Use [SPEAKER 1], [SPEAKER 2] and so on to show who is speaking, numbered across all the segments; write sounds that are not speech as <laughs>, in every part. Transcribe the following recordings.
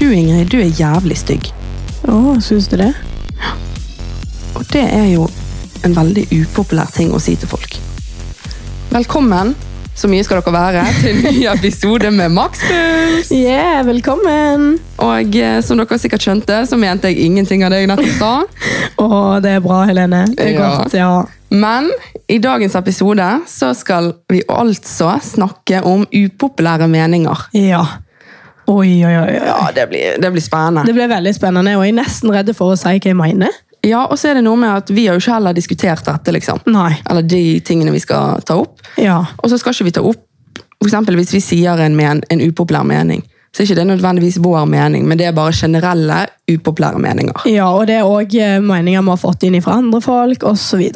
[SPEAKER 1] Ingrid, du er jævlig stygg.
[SPEAKER 2] Å, syns du det?
[SPEAKER 1] Og det er jo en veldig upopulær ting å si til folk. Velkommen, så mye skal dere være, til en ny episode med Max Puls!
[SPEAKER 2] Yeah, velkommen!
[SPEAKER 1] Og eh, som dere sikkert skjønte, så mente jeg ingenting av det jeg nettopp sa.
[SPEAKER 2] Å, det er bra, Helene. Det er
[SPEAKER 1] Ja.
[SPEAKER 2] godt, ja.
[SPEAKER 1] Men i dagens episode så skal vi altså snakke om upopulære meninger.
[SPEAKER 2] Ja. Oi, oi, oi. oi.
[SPEAKER 1] Ja, det blir, det blir spennende.
[SPEAKER 2] Det ble veldig spennende, og jeg er nesten redd for å si hva jeg mener.
[SPEAKER 1] Ja, og så er det noe med at vi har jo ikke heller diskutert dette, liksom.
[SPEAKER 2] Nei.
[SPEAKER 1] Eller de tingene vi skal ta opp.
[SPEAKER 2] Ja.
[SPEAKER 1] Og så skal ikke vi ta opp, for eksempel hvis vi sier en, men, en upopulær mening, så er ikke det nødvendigvis vår mening, men det er bare generelle upopulære meninger.
[SPEAKER 2] ja, og det er òg meninger vi har fått inn fra andre folk, osv.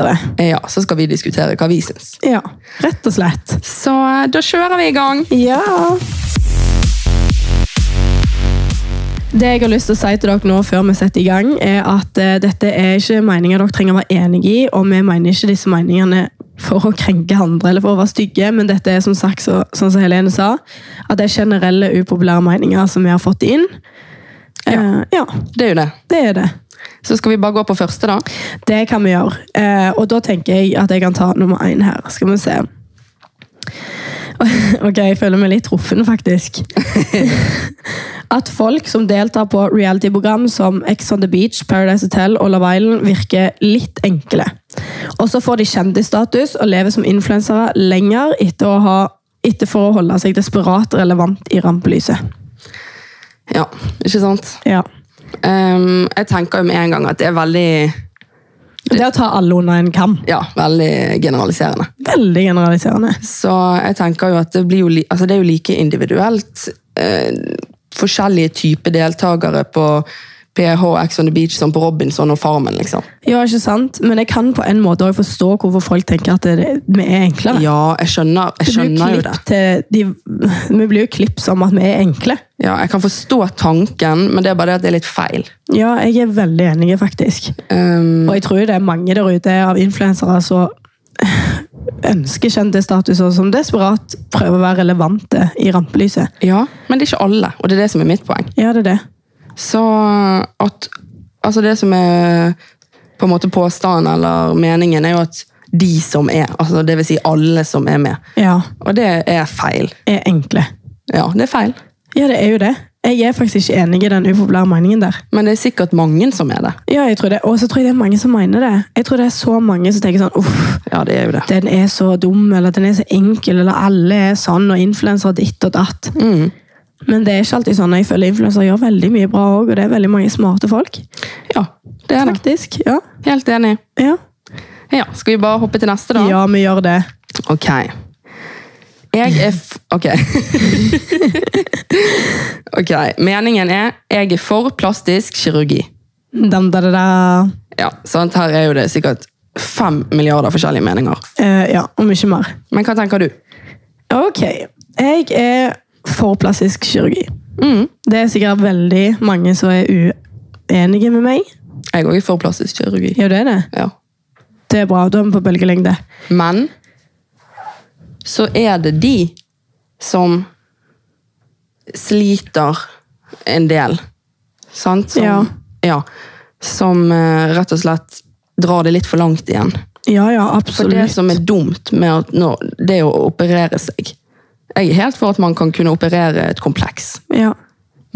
[SPEAKER 1] Ja, så skal vi diskutere hva vi syns.
[SPEAKER 2] Ja, rett og slett.
[SPEAKER 1] Så eh, da kjører vi i gang.
[SPEAKER 2] Ja. Det jeg har lyst til å si til dere nå før vi setter i gang, er at eh, dette er ikke meninger dere trenger å være enig i, og vi mener ikke disse meningene for å krenke andre eller for å være stygge, men dette er som sagt, så, sånn som Helene sa, at det er generelle upopulære meninger som vi har fått inn. Eh, ja
[SPEAKER 1] Det er jo det.
[SPEAKER 2] det er det.
[SPEAKER 1] Så skal vi bare gå på første, da.
[SPEAKER 2] Det kan vi gjøre. Eh, og da tenker jeg at jeg kan ta nummer én her. Skal vi se. <laughs> Ok, jeg føler meg litt truffen, faktisk. At folk som deltar på reality-program som Ex on the Beach, Paradise Hotel og Love Island, virker litt enkle. Og så får de kjendisstatus og lever som influensere lenger etter, å ha, etter for å holde seg desperat relevant i rampelyset.
[SPEAKER 1] Ja, ikke sant?
[SPEAKER 2] Ja.
[SPEAKER 1] Ehm, jeg tenker jo med en gang at det er veldig,
[SPEAKER 2] Det å ta alle under en kam.
[SPEAKER 1] ja, veldig generaliserende.
[SPEAKER 2] Veldig generaliserende.
[SPEAKER 1] Så jeg tenker jo at det, blir jo, li- altså det er jo like individuelt. Eh, forskjellige typer deltakere på PH, Ex on the Beach, som på Robinson og Farmen, liksom.
[SPEAKER 2] Ja, ikke sant? Men jeg kan på en måte også forstå hvorfor folk tenker at det, vi er
[SPEAKER 1] <laughs>
[SPEAKER 2] enklere.
[SPEAKER 1] Ja, jeg skjønner, jeg
[SPEAKER 2] vi, blir
[SPEAKER 1] skjønner
[SPEAKER 2] jo
[SPEAKER 1] jo det.
[SPEAKER 2] klipp til, de, <laughs> vi blir jo klipp som at vi er enkle.
[SPEAKER 1] Ja, jeg kan forstå tanken, men det er bare det at det er litt feil.
[SPEAKER 2] Ja, jeg er veldig enig, faktisk.
[SPEAKER 1] Ehm,
[SPEAKER 2] Og jeg tror det er mange der ute av influensere som <laughs> ønsker kjendisstatus, og som desperat prøver å være relevante i rampelyset.
[SPEAKER 1] ja, men det er ikke alle, og det er det som er mitt poeng.
[SPEAKER 2] Ja, det er det.
[SPEAKER 1] Så at Altså, det som er på en måte påstanden eller meningen, er jo at de som er, altså det vil si alle som er med.
[SPEAKER 2] Ja,
[SPEAKER 1] Og det er feil.
[SPEAKER 2] er enkle.
[SPEAKER 1] Ja, det er feil.
[SPEAKER 2] Ja, det er jo det. Jeg er faktisk ikke enig i den upopulære meningen der.
[SPEAKER 1] Men det er sikkert mange som er det.
[SPEAKER 2] Ja, jeg tror det. Og så tror jeg det er mange som mener det. Jeg tror det er så mange som tenker sånn, uff,
[SPEAKER 1] Ja, det er jo det.
[SPEAKER 2] den er så dum, eller den er så enkel, eller alle er sånn, og influensere ditt og datt.
[SPEAKER 1] Mm.
[SPEAKER 2] Men det er ikke alltid sånn. Jeg føler influensere gjør veldig mye bra òg, og det er veldig mange smarte folk.
[SPEAKER 1] Ja, det er det.
[SPEAKER 2] Faktisk. Ja.
[SPEAKER 1] Helt enig.
[SPEAKER 2] Ja.
[SPEAKER 1] Ja, Skal vi bare hoppe til neste, da?
[SPEAKER 2] ja, vi gjør det.
[SPEAKER 1] Ok. Jeg er f... Ok. <laughs> ok, Meningen er jeg er for plastisk kirurgi.
[SPEAKER 2] Dam, da, da, da.
[SPEAKER 1] Ja, sant? Her er jo det sikkert fem milliarder forskjellige meninger.
[SPEAKER 2] Eh, ja, og mye mer.
[SPEAKER 1] Men hva tenker du?
[SPEAKER 2] Ok. Jeg er for plastisk kirurgi.
[SPEAKER 1] Mm.
[SPEAKER 2] Det er sikkert veldig mange som er uenige med meg.
[SPEAKER 1] Jeg òg er for plastisk kirurgi.
[SPEAKER 2] Ja, det er det.
[SPEAKER 1] Ja.
[SPEAKER 2] Det er bra. Da er vi på bølgelengde.
[SPEAKER 1] Men så er det de som sliter en del. Sant? Som,
[SPEAKER 2] Ja.
[SPEAKER 1] ja. Som eh, rett og slett drar det litt for langt igjen.
[SPEAKER 2] Ja, ja,
[SPEAKER 1] For
[SPEAKER 2] absolutt.
[SPEAKER 1] det som er dumt med at når, det er å operere seg Jeg er helt for at man kan kunne operere et kompleks.
[SPEAKER 2] ja.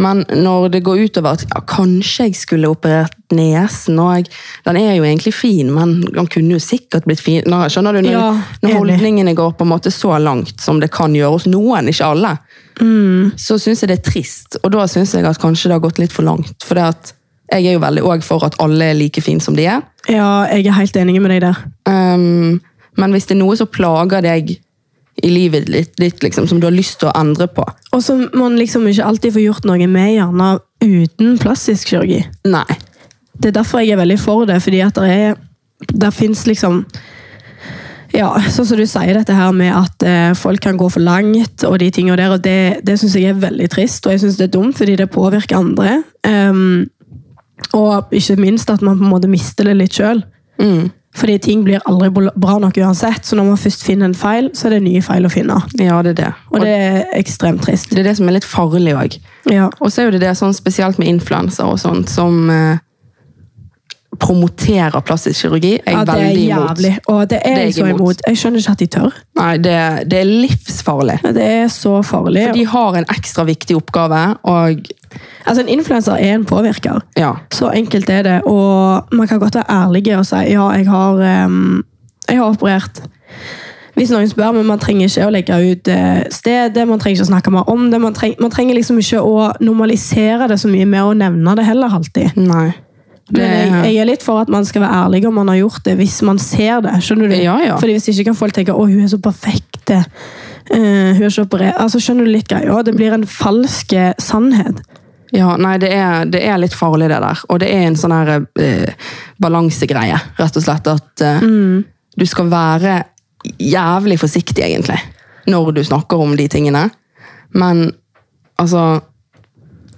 [SPEAKER 1] Men når det går utover at ja, kanskje jeg skulle operert nesen og jeg, Den er jo egentlig fin, men den kunne jo sikkert blitt finere. Skjønner du? Når,
[SPEAKER 2] Ja,
[SPEAKER 1] når
[SPEAKER 2] enig.
[SPEAKER 1] holdningene går på en måte så langt som det kan gjøre hos noen, ikke alle,
[SPEAKER 2] Mm.
[SPEAKER 1] så syns jeg det er trist. Og da syns jeg at kanskje det har gått litt for langt. For det at jeg er jo veldig òg for at alle er like fine som de er.
[SPEAKER 2] Ja, jeg er helt enig med deg der.
[SPEAKER 1] Um, men hvis det er noe som plager deg i livet ditt, ditt liksom, som du har lyst til å endre på
[SPEAKER 2] Og som man liksom ikke alltid får gjort noe med, gjerne uten plastisk kirurgi.
[SPEAKER 1] Nei.
[SPEAKER 2] Det er derfor jeg er veldig for det, fordi at det er Der fins liksom ja, sånn som du sier dette her med at eh, folk kan gå for langt, og de tingene der, og det, det syns jeg er veldig trist, og jeg syns det er dumt, fordi det påvirker andre. Ehm, og ikke minst at man på en måte mister det litt sjøl. Fordi ting blir aldri bol- bra nok uansett, så når man først finner en feil, så er det nye feil å finne.
[SPEAKER 1] Ja, det er det.
[SPEAKER 2] Og det er ekstremt trist.
[SPEAKER 1] Det er det som er litt farlig òg.
[SPEAKER 2] Ja.
[SPEAKER 1] Og så er jo det det sånn spesielt med influenser og sånt, som eh, promoterer plastisk kirurgi. Jeg er
[SPEAKER 2] Ja, det er
[SPEAKER 1] veldig imot.
[SPEAKER 2] jævlig. Og det
[SPEAKER 1] Det
[SPEAKER 2] er
[SPEAKER 1] er
[SPEAKER 2] jeg
[SPEAKER 1] jeg
[SPEAKER 2] så
[SPEAKER 1] imot.
[SPEAKER 2] imot. Jeg skjønner ikke at de tør.
[SPEAKER 1] Nei, det, det er livsfarlig.
[SPEAKER 2] Det er så farlig.
[SPEAKER 1] For de har en ekstra viktig oppgave, og
[SPEAKER 2] Altså, en influenser er en påvirker.
[SPEAKER 1] ja.
[SPEAKER 2] Så enkelt er det, og man kan godt være ærlig og si ja, jeg har, ehm, jeg har operert. Hvis noen spør, men man trenger ikke å legge ut eh, stedet, man trenger ikke å snakke mer om det, man, treng, man trenger liksom ikke å normalisere det så mye med å nevne det heller alltid.
[SPEAKER 1] Nei. Det,
[SPEAKER 2] Men jeg, jeg er litt for at man skal være ærlig om man har gjort det, hvis man ser det. skjønner du?
[SPEAKER 1] Ja, ja.
[SPEAKER 2] Fordi Hvis ikke kan folk tenke å hun er så perfekt. eh, hun er så operert. Altså, skjønner du litt greia? Det blir en falsk eh, sannhet.
[SPEAKER 1] ja, nei, det er, det er litt farlig, det der. Og det er en sånn her eh, balansegreie, rett og slett. At eh,
[SPEAKER 2] Mm.
[SPEAKER 1] du skal være jævlig forsiktig, egentlig, når du snakker om de tingene. Men altså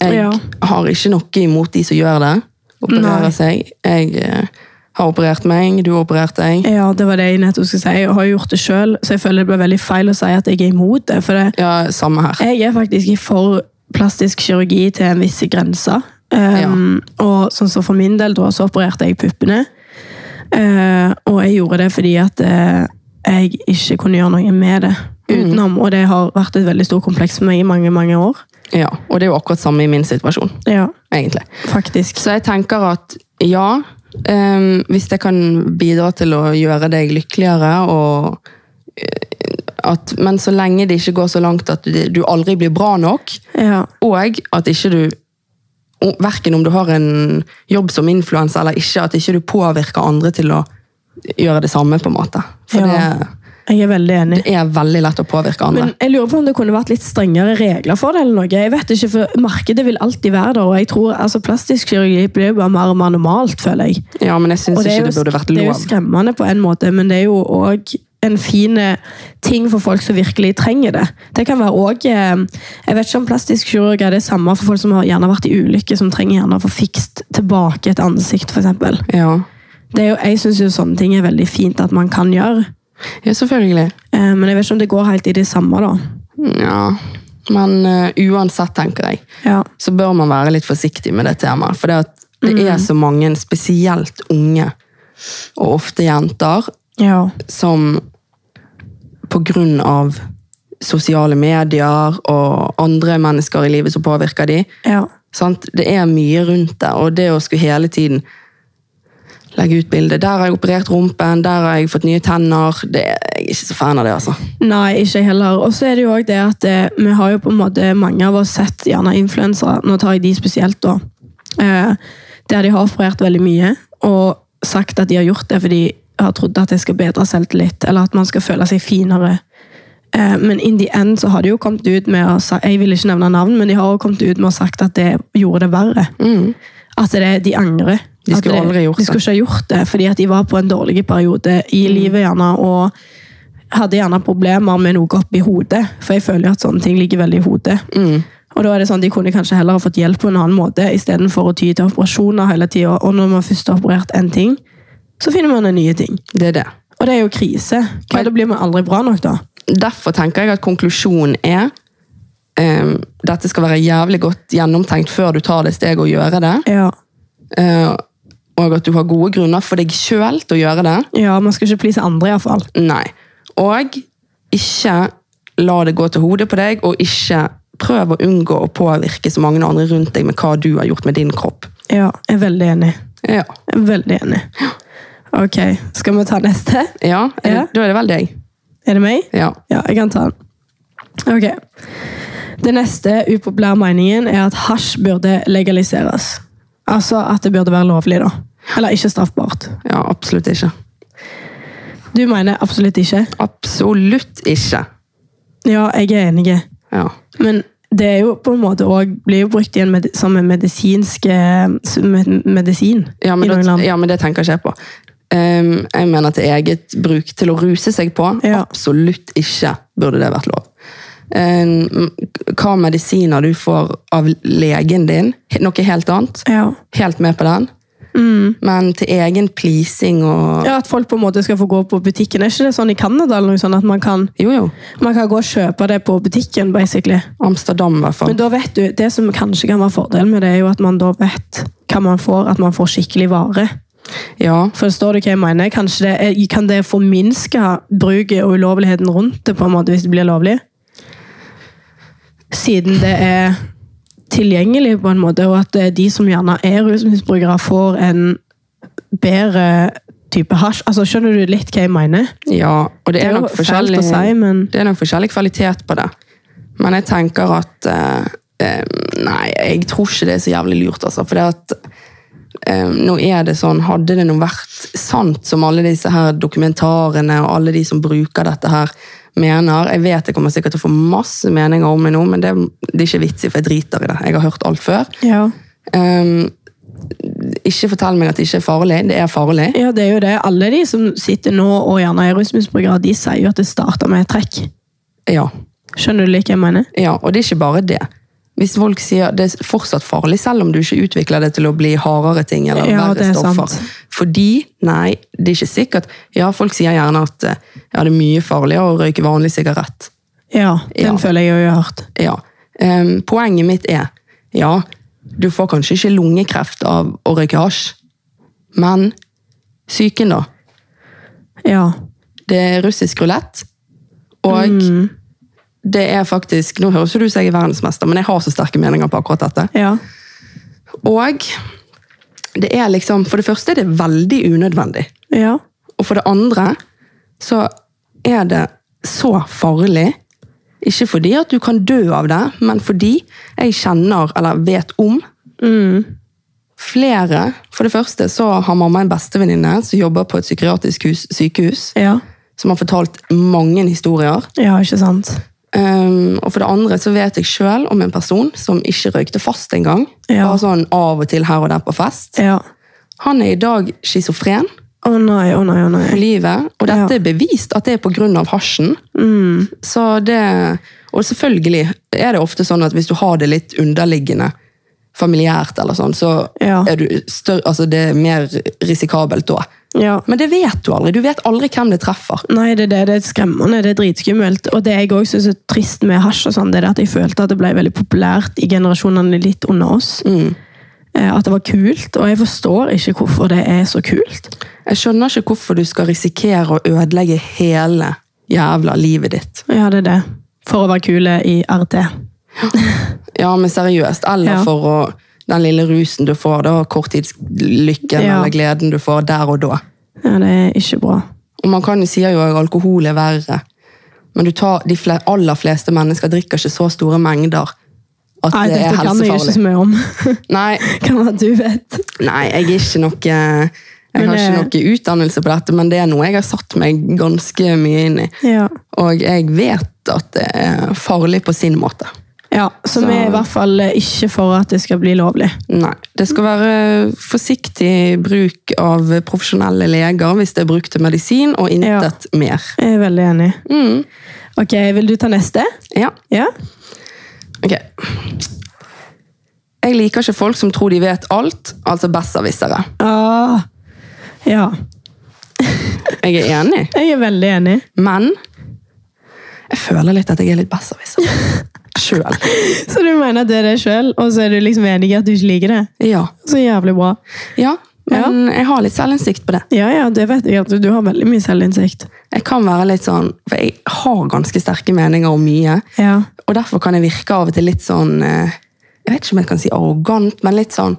[SPEAKER 1] Jeg
[SPEAKER 2] Ja.
[SPEAKER 1] har ikke noe imot de som gjør det. Opererer
[SPEAKER 2] Nei.
[SPEAKER 1] seg. Jeg eh, har operert meg, du har operert deg.
[SPEAKER 2] Ja, det var det jeg nettopp skulle si. Jeg har jo gjort det sjøl, så jeg føler det blir veldig feil å si at jeg er imot det. For det,
[SPEAKER 1] Ja, samme her.
[SPEAKER 2] jeg er faktisk for plastisk kirurgi til en viss grense. Um, Og sånn som for min del, da, så opererte jeg puppene. Eh, og jeg gjorde det fordi at eh, jeg ikke kunne gjøre noe med det utenom. Og det har vært et veldig stort kompleks for meg i mange, mange år.
[SPEAKER 1] Ja, og det er jo akkurat samme i min situasjon,
[SPEAKER 2] Ja,
[SPEAKER 1] egentlig.
[SPEAKER 2] faktisk.
[SPEAKER 1] Så jeg tenker at ja, ehm, hvis det kan bidra til å gjøre deg lykkeligere, og eh, at, men så lenge det ikke går så langt at du, du aldri blir bra nok,
[SPEAKER 2] Ja.
[SPEAKER 1] og at ikke du og Verken om du har en jobb som influenser eller ikke, at ikke du påvirker andre til å gjøre det samme, på en måte. For
[SPEAKER 2] Ja. Jeg er veldig enig.
[SPEAKER 1] det, det er veldig lett å påvirke andre.
[SPEAKER 2] Men jeg lurer på om det kunne vært litt strengere regler for det. eller noe. Jeg vet ikke, for Markedet vil alltid være der. og jeg tror altså, Plastisk kirurgi blir jo bare mer og mer normalt, føler jeg.
[SPEAKER 1] ja, men jeg syns
[SPEAKER 2] Og
[SPEAKER 1] ikke det
[SPEAKER 2] jo,
[SPEAKER 1] burde vært
[SPEAKER 2] det er jo
[SPEAKER 1] lov.
[SPEAKER 2] skremmende på en måte, men det er jo òg en fin eh, ting for folk som virkelig trenger det. Det kan være også, eh, Jeg vet ikke om plastisk kirurg er det samme for folk som har gjerne vært i ulykke, som trenger gjerne å få fikst tilbake et ansikt, for eksempel.
[SPEAKER 1] Ja.
[SPEAKER 2] Det er jo, Jeg syns sånne ting er veldig fint at man kan gjøre,
[SPEAKER 1] ja, selvfølgelig.
[SPEAKER 2] eh, men jeg vet ikke om det går helt i det samme, da.
[SPEAKER 1] Ja, men eh, uansett, tenker jeg,
[SPEAKER 2] Ja.
[SPEAKER 1] så bør man være litt forsiktig med det temaet. For det, at det er så mange, spesielt unge, og ofte jenter,
[SPEAKER 2] ja.
[SPEAKER 1] som på grunn av sosiale medier og andre mennesker i livet som påvirker de,
[SPEAKER 2] Ja.
[SPEAKER 1] sant? det er mye rundt det, og det å skulle hele tiden legge ut bilder, der har jeg operert rumpen, der har jeg fått nye tenner, det, jeg er ikke så fan av det, altså.
[SPEAKER 2] Nei, ikke jeg heller. Og så er det jo også det at eh, vi har jo på en måte mange av oss sett gjerne influensere, nå tar jeg de spesielt da, eh, der de har operert veldig mye, og sagt at de har gjort det fordi de har trodd at det skal bedre selvtillit, eller at man skal føle seg finere. Eh, men in the end så har de jo kommet ut med, å sa- jeg vil ikke nevne navn, men de har jo kommet ut med å sagt at det gjorde det verre. At det, de angrer.
[SPEAKER 1] De
[SPEAKER 2] At
[SPEAKER 1] skulle
[SPEAKER 2] det-
[SPEAKER 1] aldri gjort
[SPEAKER 2] de
[SPEAKER 1] det. Mm.
[SPEAKER 2] skulle ikke ha gjort det, fordi at de var på en dårlig periode i livet gjerne, og hadde gjerne problemer med noe oppi hodet, for jeg føler jo at sånne ting ligger veldig i hodet.
[SPEAKER 1] Mm.
[SPEAKER 2] Og da er det sånn, De kunne kanskje heller ha fått hjelp på en annen måte, istedenfor å ty til operasjoner hele tida. Og når man først har operert én ting, så finner man en ny ting.
[SPEAKER 1] Det er det.
[SPEAKER 2] Og det er jo krise. Hva, da blir man aldri bra nok, da.
[SPEAKER 1] derfor tenker jeg at konklusjonen er um, dette skal være jævlig godt gjennomtenkt før du tar det steget og gjøre det.
[SPEAKER 2] Ja,
[SPEAKER 1] eh, og at du har gode grunner for deg sjøl til å gjøre det.
[SPEAKER 2] ja Man skal ikke please andre, iallfall.
[SPEAKER 1] Nei. Og ikke la det gå til hodet på deg, og ikke prøv å unngå å påvirke så mange andre rundt deg med hva du har gjort med din kropp.
[SPEAKER 2] Ja, jeg er veldig enig.
[SPEAKER 1] Ja,
[SPEAKER 2] Jeg er veldig enig. Ok, skal vi ta neste?
[SPEAKER 1] ja, er det,
[SPEAKER 2] Ja.
[SPEAKER 1] Da er det vel deg.
[SPEAKER 2] Er det meg?
[SPEAKER 1] Ja.
[SPEAKER 2] Ja, jeg kan ta den. Ok. Den neste upopulære meningen er at hasj burde legaliseres. Altså at det burde være lovlig, da. Eller ikke straffbart.
[SPEAKER 1] ja, absolutt ikke.
[SPEAKER 2] Du mener absolutt ikke.
[SPEAKER 1] Absolutt ikke.
[SPEAKER 2] Ja, jeg er enig.
[SPEAKER 1] Ja.
[SPEAKER 2] Men det er jo på en måte også, blir jo brukt igjen med, som en medisinsk eh, som en medisin
[SPEAKER 1] Ja, men,
[SPEAKER 2] i noen
[SPEAKER 1] da,
[SPEAKER 2] land.
[SPEAKER 1] ja, men det tenker ikke jeg på. Ehm, jeg mener til eget bruk til å ruse seg på.
[SPEAKER 2] Ja.
[SPEAKER 1] Absolutt ikke burde det vært lov. Ehm, hva medisiner du får av legen din, he- noe helt annet.
[SPEAKER 2] Ja.
[SPEAKER 1] Helt med på den. men til egen pleasing og
[SPEAKER 2] Mm. Ja, At folk på en måte skal få gå på butikken. Er ikke det sånn i Canada? eller noe sånt, At man kan,
[SPEAKER 1] Jo, jo.
[SPEAKER 2] man kan gå og kjøpe det på butikken, basically.
[SPEAKER 1] Amsterdam, i hvert fall.
[SPEAKER 2] Men da vet du, det som kanskje kan være fordelen med det, er jo at man da vet hva man får. At man får skikkelig vare.
[SPEAKER 1] Ja.
[SPEAKER 2] Forstår du hva jeg mener? Kanskje det, er- kan det forminske bruket og ulovligheten rundt det, på en måte, hvis det blir lovlig? Siden det er tilgjengelig, på en måte, og at det er de som gjerne er rusmisbrukere, får en bedre type hasj. Altså, skjønner du litt hva jeg mener?
[SPEAKER 1] ja. Og det,
[SPEAKER 2] Det er
[SPEAKER 1] er
[SPEAKER 2] jo
[SPEAKER 1] nok
[SPEAKER 2] fælt
[SPEAKER 1] forskjellig
[SPEAKER 2] å si, men-
[SPEAKER 1] Det er nok forskjellig kvalitet på det. Men jeg tenker at eh, eh, Nei, jeg tror ikke det er så jævlig lurt, altså. For det at eh, nå er det sånn, hadde det nå vært sant som alle disse her dokumentarene og alle de som bruker dette her, mener Jeg vet jeg kommer sikkert til å få masse meninger om meg nå, men det, det er ikke vits i, for jeg driter i det. Jeg har hørt alt før.
[SPEAKER 2] Ja.
[SPEAKER 1] Ehm, ikke fortell meg at det ikke er farlig. Det er farlig.
[SPEAKER 2] ja, det er jo det. Alle de som sitter nå og gjerne er rusmisbrukere, de sier jo at det starter med et trekk.
[SPEAKER 1] Ja.
[SPEAKER 2] Skjønner du litt hva jeg mener?
[SPEAKER 1] ja. Og det er ikke bare det. Hvis folk sier det er fortsatt farlig, selv om du ikke utvikler det til å bli hardere ting eller
[SPEAKER 2] Ja, det
[SPEAKER 1] verre
[SPEAKER 2] er
[SPEAKER 1] stoffer.
[SPEAKER 2] sant.
[SPEAKER 1] Fordi, nei, det er ikke sikkert. Ja, folk sier gjerne at eh, ja, det er mye farligere å røyke vanlig sigarett.
[SPEAKER 2] Ja, den
[SPEAKER 1] Ja.
[SPEAKER 2] føler jeg jo jeg har hørt.
[SPEAKER 1] Ja. Ehm, poenget mitt er, ja, du får kanskje ikke lungekreft av å røyke hasj, men psyken da,
[SPEAKER 2] Ja.
[SPEAKER 1] det er russisk rulett, og
[SPEAKER 2] Mm.
[SPEAKER 1] det er faktisk, nå høres jo du seg i verdensmester, men jeg har så sterke meninger på akkurat dette.
[SPEAKER 2] Ja.
[SPEAKER 1] Og det er liksom, for det første er det veldig unødvendig,
[SPEAKER 2] Ja.
[SPEAKER 1] og for det andre så er det så farlig, ikke fordi at du kan dø av det, men fordi jeg kjenner, eller vet om, flere, for det første så har mamma en bestevenninne som jobber på et psykiatrisk hus, sykehus,
[SPEAKER 2] Ja.
[SPEAKER 1] som har fortalt mange historier.
[SPEAKER 2] Ja, ikke sant?
[SPEAKER 1] Um, og for det andre så vet jeg selv om en person som ikke røykte fast engang.
[SPEAKER 2] Ja.
[SPEAKER 1] Bare sånn av og til her og der på fest.
[SPEAKER 2] Ja.
[SPEAKER 1] Han er i dag schizofren
[SPEAKER 2] Å nei, å nei, å
[SPEAKER 1] på
[SPEAKER 2] nei.
[SPEAKER 1] livet, og dette
[SPEAKER 2] Ja. Mm.
[SPEAKER 1] er bevist at det er på grunn av hasjen. Så det, og selvfølgelig er det ofte sånn at hvis du har det litt underliggende familiært eller sånn, så
[SPEAKER 2] Ja.
[SPEAKER 1] er du større, altså det er mer risikabelt da.
[SPEAKER 2] Ja.
[SPEAKER 1] Men det vet du aldri. Du vet aldri hvem det treffer.
[SPEAKER 2] Nei, det er det. Det er skremmende. Det er dritskummelt. Og det jeg òg syns er trist med hasj, og sånn, det er at jeg følte at det ble veldig populært i generasjonene litt under oss. Eh, At det var kult. Og jeg forstår ikke hvorfor det er så kult.
[SPEAKER 1] Jeg skjønner ikke hvorfor du skal risikere å ødelegge hele jævla livet ditt.
[SPEAKER 2] Ja, det er det. For å være kule i RT.
[SPEAKER 1] Ja, men seriøst. Eller
[SPEAKER 2] Ja.
[SPEAKER 1] for å, den lille rusen du får, da, korttidslykken
[SPEAKER 2] Ja.
[SPEAKER 1] eller gleden du får der og da.
[SPEAKER 2] Ja, det er ikke bra.
[SPEAKER 1] Og man kan jo si jo at alkohol er verre, men du tar, de fle, aller fleste mennesker drikker ikke så store mengder at
[SPEAKER 2] Nei,
[SPEAKER 1] det er
[SPEAKER 2] dette kan jeg jo ikke
[SPEAKER 1] helsefarlig.
[SPEAKER 2] så mye om. <laughs>
[SPEAKER 1] Nei,
[SPEAKER 2] Kan være du vet.
[SPEAKER 1] nei, jeg er ikke noe jeg
[SPEAKER 2] Men
[SPEAKER 1] har ikke
[SPEAKER 2] det-
[SPEAKER 1] noe utdannelse på dette, men det er noe jeg har satt meg ganske mye inn i.
[SPEAKER 2] Ja.
[SPEAKER 1] Og jeg vet at det er farlig på sin måte.
[SPEAKER 2] Ja, så,
[SPEAKER 1] Så-
[SPEAKER 2] vi er i hvert fall eh, ikke for at det skal bli lovlig.
[SPEAKER 1] Nei. Det skal være forsiktig bruk av profesjonelle leger hvis det er bruk til medisin, og intet mer.
[SPEAKER 2] Jeg er veldig enig. Ok, vil du ta neste?
[SPEAKER 1] Ja,
[SPEAKER 2] Mm. Ja.
[SPEAKER 1] ok. Jeg liker ikke folk som tror de vet alt, altså besserwissere.
[SPEAKER 2] Ah, ja.
[SPEAKER 1] Jeg er enig,
[SPEAKER 2] Jeg er veldig enig.
[SPEAKER 1] men jeg føler litt at jeg er litt <laughs> besserwisser. Sjøl.
[SPEAKER 2] Så du mener at det er det sjøl, og så er du liksom enig i at du ikke liker det?
[SPEAKER 1] Ja.
[SPEAKER 2] Så jævlig bra.
[SPEAKER 1] ja. Men jeg har litt selvinnsikt på det.
[SPEAKER 2] Ja, ja, det vet jeg at du- du har veldig mye selvinnsikt.
[SPEAKER 1] Jeg kan være litt sånn, for jeg har ganske sterke meninger om mye.
[SPEAKER 2] Ja.
[SPEAKER 1] Og derfor kan jeg virke av og til litt sånn eh, Jeg vet ikke om jeg kan si arrogant, men litt sånn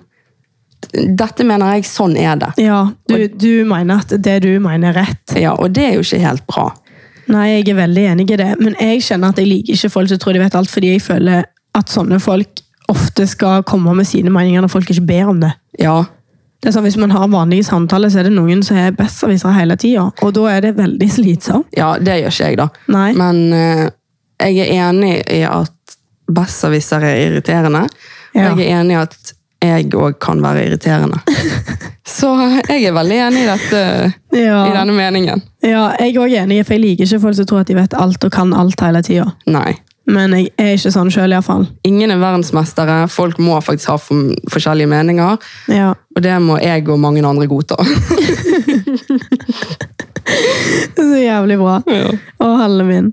[SPEAKER 1] Dette mener jeg, sånn er det.
[SPEAKER 2] Ja, du, du mener at det du mener er rett.
[SPEAKER 1] Ja, Og det er jo ikke helt bra.
[SPEAKER 2] Nei, jeg er veldig enig i det, men jeg kjenner at jeg liker ikke folk som tror de vet alt, fordi jeg føler at sånne folk ofte skal komme med sine meninger når folk ikke ber om det.
[SPEAKER 1] Ja,
[SPEAKER 2] Det er sånn, Hvis man har vanlige samtaler, så er det noen som er besserwisser hele tida. Og da er det veldig slitsomt.
[SPEAKER 1] ja det gjør ikke jeg, da.
[SPEAKER 2] Nei.
[SPEAKER 1] Men eh, jeg er enig i at besserwissere er irriterende.
[SPEAKER 2] Ja.
[SPEAKER 1] Og jeg er enig i at jeg òg kan være
[SPEAKER 2] <laughs>
[SPEAKER 1] irriterende. Så jeg er veldig enig i dette, i
[SPEAKER 2] Ja,
[SPEAKER 1] denne meningen.
[SPEAKER 2] ja jeg er òg enig, for jeg liker ikke folk som tror at de vet alt og kan alt hele tida.
[SPEAKER 1] Nei.
[SPEAKER 2] men jeg er ikke sånn sjøl, iallfall.
[SPEAKER 1] Ingen er verdensmestere. Folk må faktisk ha for, forskjellige meninger.
[SPEAKER 2] Ja. <laughs>
[SPEAKER 1] Og det må jeg og mange andre godta.
[SPEAKER 2] Så jævlig bra.
[SPEAKER 1] Ja.
[SPEAKER 2] Å, halve min.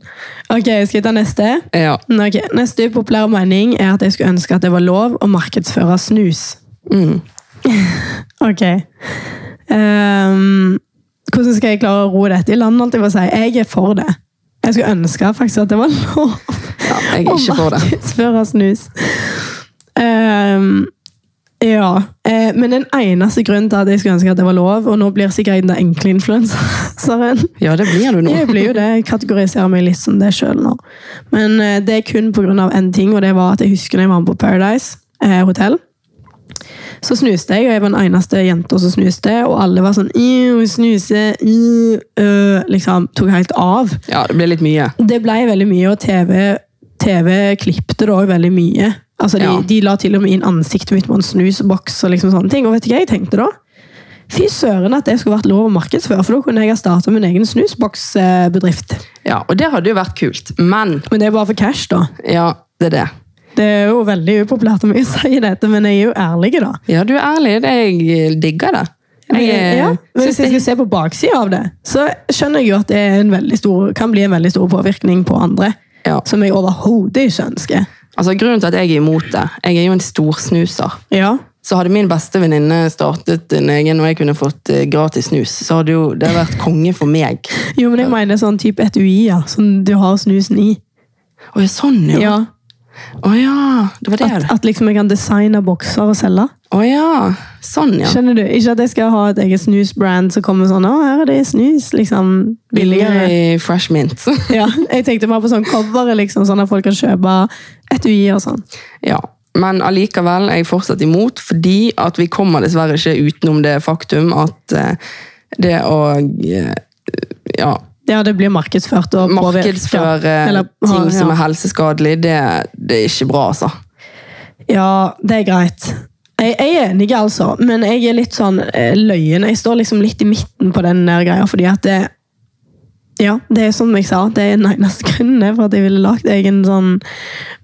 [SPEAKER 2] Ok, skal jeg ta neste?
[SPEAKER 1] ja.
[SPEAKER 2] Nei, ok. Neste upopulære mening er at jeg skulle ønske at det var lov å markedsføre snus.
[SPEAKER 1] mm.
[SPEAKER 2] ok. Ehm, hvordan skal jeg klare å ro dette i land? holdt Jeg, på å si? jeg er for det. Jeg skulle ønske faktisk at det var <laughs> lov
[SPEAKER 1] ja jeg er
[SPEAKER 2] å
[SPEAKER 1] ikke for det.
[SPEAKER 2] markedsføre snus. Ehm, ja. Eh, men den eneste grunnen til at jeg skulle ønske at det var lov, og nå blir sikkert jeg den enkle influenseren
[SPEAKER 1] Ja, det blir du nå.
[SPEAKER 2] <laughs> jeg blir jo det. Jeg kategoriserer meg litt som det sjøl nå. Men eh, det er kun pga. én ting, og det var at jeg husker når jeg var med på Paradise eh, hotell. Så snuste jeg, og jeg var den eneste jenta som snuste. Og alle var sånn «Ew, snuse, ew», øh, liksom, Tok helt av.
[SPEAKER 1] Ja, det blir litt mye.
[SPEAKER 2] Det ble veldig mye, og TV, TV klippte det òg veldig mye. Altså, de,
[SPEAKER 1] Ja.
[SPEAKER 2] de la til og med inn ansiktet mitt på en snusboks og liksom sånne ting. Og vet du hva jeg tenkte da? Fy søren at det skulle vært lov å markedsføre, for da kunne jeg ha starta min egen snusboksbedrift.
[SPEAKER 1] Ja, Og det hadde jo vært kult. Men
[SPEAKER 2] Men det er bare for cash, da.
[SPEAKER 1] ja, det er det.
[SPEAKER 2] Det er jo veldig upopulært om jeg sier dette, men jeg er jo ærlig, da.
[SPEAKER 1] Ja, du er ærlig. Det, jeg digger det. Jeg, eh,
[SPEAKER 2] ja, men
[SPEAKER 1] synes
[SPEAKER 2] hvis jeg skal se på baksida av det, så skjønner jeg jo at det er en veldig stor, kan bli en veldig stor påvirkning på andre.
[SPEAKER 1] Ja.
[SPEAKER 2] Som jeg overhodet ikke ønsker.
[SPEAKER 1] Altså, grunnen til at jeg er imot det Jeg er jo en storsnuser.
[SPEAKER 2] Ja.
[SPEAKER 1] Så hadde min beste venninne startet en egen, og jeg kunne fått eh, gratis snus, så hadde jo det vært konge for meg.
[SPEAKER 2] Jo, men jeg mener sånn type etuier som Sånn du har snusen i.
[SPEAKER 1] Å ja, sånn, ja. Å ja.
[SPEAKER 2] Ja.
[SPEAKER 1] det var det.
[SPEAKER 2] At,
[SPEAKER 1] det.
[SPEAKER 2] at liksom jeg kan designe bokser og selge.
[SPEAKER 1] Å ja. Sånn, ja.
[SPEAKER 2] Skjønner du? Ikke at jeg skal ha et eget snusbrand som kommer sånn Å, her er det snus. Liksom billigere.
[SPEAKER 1] i fresh mint.
[SPEAKER 2] <laughs> Ja, jeg tenkte bare på sånn coveret, liksom, sånn at folk kan kjøpe etuier og sånn.
[SPEAKER 1] ja. Men allikevel er jeg fortsatt imot, fordi at vi kommer dessverre ikke utenom det faktum at eh, det å eh, ja,
[SPEAKER 2] Ja, det blir markedsført og påvirket.
[SPEAKER 1] markedsføre
[SPEAKER 2] Eller-
[SPEAKER 1] eh, ting som
[SPEAKER 2] ja.
[SPEAKER 1] er helseskadelig, det, det er ikke bra, altså.
[SPEAKER 2] Ja, det er greit. Jeg, jeg er enig, altså, men jeg er litt sånn eh, løyen. Jeg står liksom litt i midten på den der greia, fordi at det Ja, det er som jeg sa, det er <laughs> den eneste grunnen det er for at jeg ville lagd egen sånn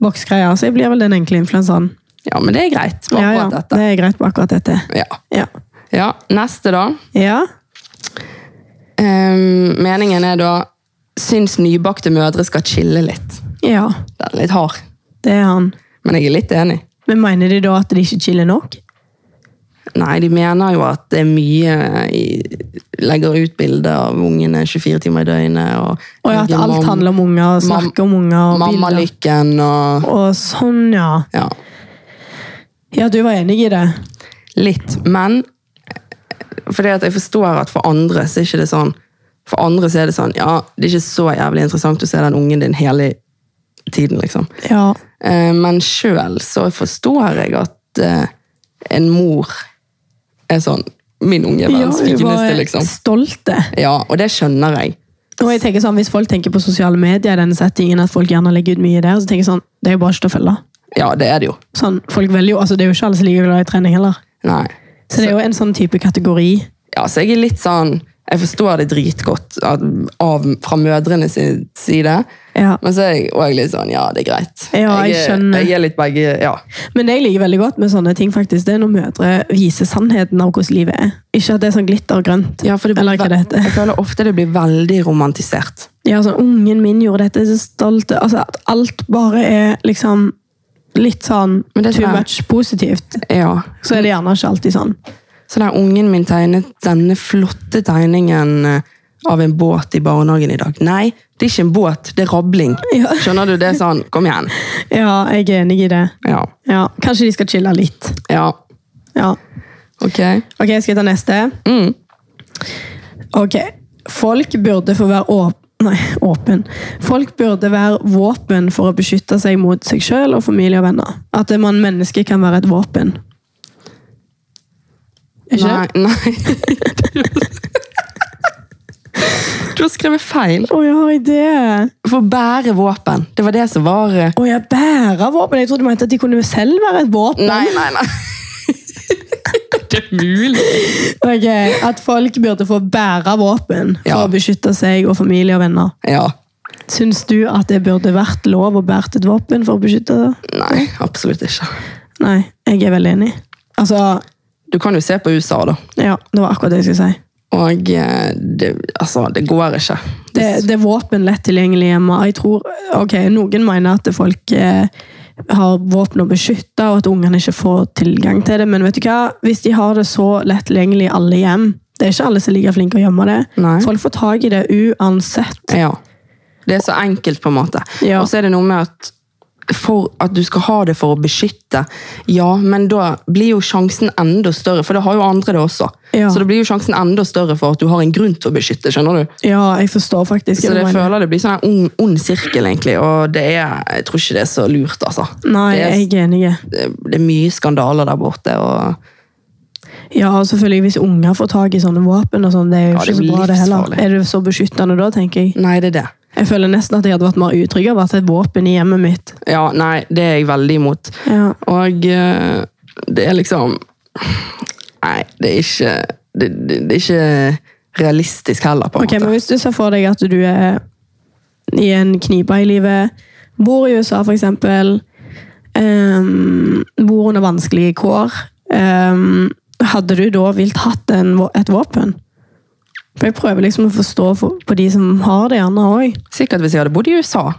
[SPEAKER 2] boksgreie. Så jeg blir vel den enkle influenseren.
[SPEAKER 1] Ja, men det er greit.
[SPEAKER 2] Ja, ja,
[SPEAKER 1] Akkurat
[SPEAKER 2] det er greit på akkurat dette.
[SPEAKER 1] dette. Ja.
[SPEAKER 2] Ja.
[SPEAKER 1] Ja, neste da.
[SPEAKER 2] ja.
[SPEAKER 1] Ehm, meningen er da Syns nybakte mødre skal chille litt.
[SPEAKER 2] Ja,
[SPEAKER 1] Den er litt hard,
[SPEAKER 2] det er han.
[SPEAKER 1] men jeg er litt enig.
[SPEAKER 2] Men mener de da at de ikke chiller nok?
[SPEAKER 1] Nei, de mener jo at det er mye i, Legger ut bilder av ungene 24 timer i døgnet. Og,
[SPEAKER 2] Og ja, at alt handler om unger, og
[SPEAKER 1] mam-
[SPEAKER 2] snakke om unger og bilder.
[SPEAKER 1] Mammalykken og
[SPEAKER 2] Og sånn, ja.
[SPEAKER 1] Ja,
[SPEAKER 2] Ja, du var enig i det.
[SPEAKER 1] litt. Men fordi at jeg forstår at for andre så er ikke det sånn For andre så er det sånn Ja, det er ikke så jævlig interessant å se den ungen din hele tiden, liksom.
[SPEAKER 2] Ja.
[SPEAKER 1] Eh, Men sjøl så forstår jeg at eh, en mor er sånn Min unge er verdens
[SPEAKER 2] ja,
[SPEAKER 1] fineste, liksom.
[SPEAKER 2] stolte.
[SPEAKER 1] Ja, og det skjønner jeg.
[SPEAKER 2] Og jeg tenker sånn, Hvis folk tenker på sosiale medier, i denne settingen, at folk gjerne legger ut mye der, så tenker jeg sånn, det er jo bare ikke til å følge.
[SPEAKER 1] Ja, det er det jo.
[SPEAKER 2] Sånn, folk velger jo, altså Det er jo ikke alle som liker glad i trening heller.
[SPEAKER 1] Nei.
[SPEAKER 2] Så det er jo en sånn type kategori.
[SPEAKER 1] Ja, så jeg er litt sånn Jeg forstår det dritgodt at- av, fra mødrene sin side.
[SPEAKER 2] Ja.
[SPEAKER 1] Men så er jeg òg litt sånn Ja, det er greit.
[SPEAKER 2] Ja, jeg
[SPEAKER 1] er-
[SPEAKER 2] skjønner.
[SPEAKER 1] Jeg er litt begge Ja.
[SPEAKER 2] Men det jeg liker veldig godt med sånne ting, faktisk, det er når mødre viser sannheten av hvordan livet er. Ikke at det er sånn glittergrønt. eller hva det heter.
[SPEAKER 1] Jeg føler ofte det blir veldig romantisert.
[SPEAKER 2] Ja, sånn, Ungen min gjorde dette, jeg er så stolt. Altså, at alt bare er liksom litt sånn
[SPEAKER 1] Men det er
[SPEAKER 2] too
[SPEAKER 1] sånn-
[SPEAKER 2] much positivt.
[SPEAKER 1] Ja.
[SPEAKER 2] Så er det gjerne ikke alltid sånn.
[SPEAKER 1] Så der ungen min tegnet denne flotte tegningen eh, av en båt i barnehagen i dag. Nei, det er ikke en båt, det er rabling.
[SPEAKER 2] Ja.
[SPEAKER 1] Skjønner du? Det er sånn, kom igjen.
[SPEAKER 2] Ja, jeg er enig i det.
[SPEAKER 1] Ja.
[SPEAKER 2] Ja, Kanskje de skal chille litt.
[SPEAKER 1] Ja,
[SPEAKER 2] Ja.
[SPEAKER 1] ok.
[SPEAKER 2] Ok, skal jeg ta neste?
[SPEAKER 1] Mm.
[SPEAKER 2] Ok. Folk burde få være åp Nei, åpen. Folk burde være våpen for å beskytte seg mot seg sjøl og familie og venner. At man menneske kan være et våpen. Er ikke det?
[SPEAKER 1] Nei, nei. <laughs> Du har skrevet feil.
[SPEAKER 2] Å ja, har jeg det?
[SPEAKER 1] For å bære våpen, det var det som var... eh,
[SPEAKER 2] Å ja, bære våpen? Jeg trodde du mente at de kunne selv være et våpen.
[SPEAKER 1] Nei, nei, nei. <laughs> Det er mulig.
[SPEAKER 2] Ok, At folk burde få bære våpen for
[SPEAKER 1] Ja.
[SPEAKER 2] å beskytte seg og familie og venner.
[SPEAKER 1] Ja,
[SPEAKER 2] Syns du at det burde vært lov å bære et våpen for å beskytte det?
[SPEAKER 1] Nei, absolutt ikke.
[SPEAKER 2] Nei, jeg er veldig enig. Altså,
[SPEAKER 1] Du kan jo se på USA, da.
[SPEAKER 2] ja, det var akkurat det jeg skulle si.
[SPEAKER 1] Og eh, det, altså, det går ikke.
[SPEAKER 2] Det, det er våpen lett tilgjengelig hjemme. Jeg tror, ok, Noen mener at folk eh, har våpen å beskytte, og at ungene ikke får tilgang til det. Men vet du hva? hvis de har det så lett tilgjengelig i alle hjem Det er ikke alle som er like flinke å gjemme det.
[SPEAKER 1] Nei.
[SPEAKER 2] Folk får tak i det uansett.
[SPEAKER 1] Ja. Det er så enkelt, på en måte.
[SPEAKER 2] Ja.
[SPEAKER 1] Og så er det noe med at for at du skal ha det for å beskytte, ja, men da blir jo sjansen enda større, for det har jo andre det også.
[SPEAKER 2] Ja.
[SPEAKER 1] Så det blir jo sjansen enda større for at du har en grunn til å beskytte, skjønner du?
[SPEAKER 2] Ja, jeg forstår faktisk.
[SPEAKER 1] Så
[SPEAKER 2] hva du
[SPEAKER 1] det jeg
[SPEAKER 2] mener.
[SPEAKER 1] føler det blir sånn en ond, ond sirkel, egentlig, og det er, jeg tror ikke det er så lurt, altså.
[SPEAKER 2] Nei,
[SPEAKER 1] det, er,
[SPEAKER 2] jeg er enig.
[SPEAKER 1] det er mye skandaler der borte, og
[SPEAKER 2] Ja, og selvfølgelig Hvis unger får tak i sånne våpen, og sånn, det er jo
[SPEAKER 1] Ja, det
[SPEAKER 2] ikke så
[SPEAKER 1] blir
[SPEAKER 2] bra, det heller.
[SPEAKER 1] livsfarlig.
[SPEAKER 2] Er du så beskyttende da, tenker jeg?
[SPEAKER 1] nei, det er det.
[SPEAKER 2] Jeg føler nesten at jeg hadde vært mer utrygg av å ha et våpen i hjemmet mitt.
[SPEAKER 1] Ja, nei, det er jeg veldig imot.
[SPEAKER 2] Ja.
[SPEAKER 1] Og eh, det er liksom Nei, det er ikke Det, det, det er ikke realistisk heller, på en
[SPEAKER 2] Ok, men
[SPEAKER 1] måte.
[SPEAKER 2] Hvis du ser for deg at du er i en knipe i livet, bor i USA for eksempel, ehm, bor under vanskelige kår, ehm, hadde du da vilt hatt en, vå- et våpen? For Jeg prøver liksom å forstå for, på de som har det gjerne òg.
[SPEAKER 1] Sikkert hvis jeg hadde bodd i USA.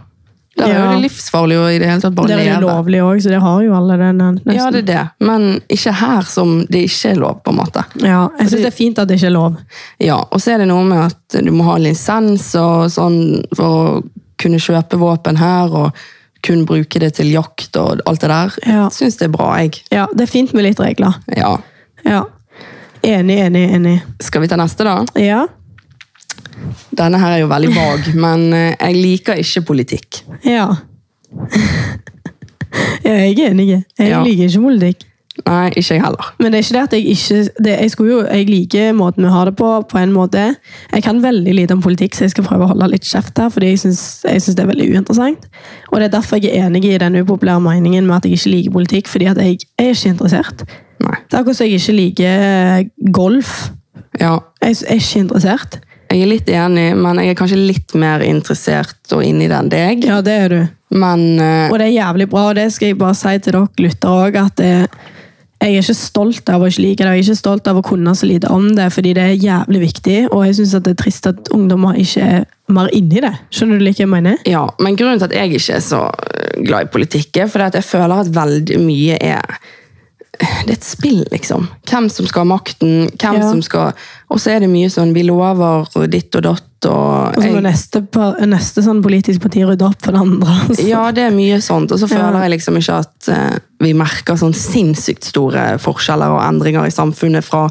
[SPEAKER 1] Der er
[SPEAKER 2] Ja.
[SPEAKER 1] jo det livsfarlig å i det hele tatt bare
[SPEAKER 2] Der er det
[SPEAKER 1] leve.
[SPEAKER 2] lovlig òg, så det har jo alle det. ne- Nesten.
[SPEAKER 1] ja, det er det. Men ikke her som det ikke er lov, på en måte.
[SPEAKER 2] Ja, jeg syns det er fint at det ikke er lov.
[SPEAKER 1] Ja, Og så er det noe med at du må ha lisens og sånn for å kunne kjøpe våpen her, og kun bruke det til jakt og alt det der.
[SPEAKER 2] Ja.
[SPEAKER 1] Jeg syns det er bra, jeg.
[SPEAKER 2] Ja, Det er fint med litt regler.
[SPEAKER 1] Ja.
[SPEAKER 2] Ja. Enig, enig, enig.
[SPEAKER 1] Skal vi ta neste, da?
[SPEAKER 2] Ja,
[SPEAKER 1] Denne her er jo veldig vag, <laughs> men eh, jeg liker ikke politikk.
[SPEAKER 2] Ja. <laughs> ja jeg er enig. Jeg
[SPEAKER 1] Ja.
[SPEAKER 2] liker ikke politikk.
[SPEAKER 1] Nei, ikke jeg heller.
[SPEAKER 2] Men det er ikke det at jeg ikke det, Jeg skulle jo, jeg liker måten vi har det på, på en måte. Jeg kan veldig lite om politikk, så jeg skal prøve å holde litt kjeft her, fordi jeg syns jeg synes det er veldig uinteressant. Og det er derfor jeg er enig i den upopulære meningen med at jeg ikke liker politikk, fordi at jeg er ikke interessert.
[SPEAKER 1] Nei.
[SPEAKER 2] Det er akkurat som jeg ikke liker eh, golf.
[SPEAKER 1] Ja,
[SPEAKER 2] Jeg s- er ikke interessert.
[SPEAKER 1] jeg er litt enig, men jeg er kanskje litt mer interessert og inni den enn deg.
[SPEAKER 2] Ja, det er du.
[SPEAKER 1] Men eh,
[SPEAKER 2] Og det er jævlig bra, og det skal jeg bare si til dere lyttere òg, at eh, jeg er ikke stolt av å ikke like det, og jeg er ikke stolt av å kunne så lite om det, fordi det er jævlig viktig, og jeg syns det er trist at ungdommer ikke er mer inni det. Skjønner du hva jeg mener?
[SPEAKER 1] ja, men grunnen til at jeg ikke er så eh, glad i politikk, er fordi at jeg føler at veldig mye er eh, det er et spill, liksom. Hvem som skal ha makten, hvem
[SPEAKER 2] Ja.
[SPEAKER 1] som skal Og så er det mye sånn vi lover og ditt og datt og
[SPEAKER 2] Og så må
[SPEAKER 1] jeg-
[SPEAKER 2] neste, pa- neste sånn politisk parti rydde opp for det andre. altså.
[SPEAKER 1] Ja, det er mye sånt. Og så føler
[SPEAKER 2] Ja.
[SPEAKER 1] jeg liksom ikke at eh, vi merker sånn sinnssykt store forskjeller og endringer i samfunnet fra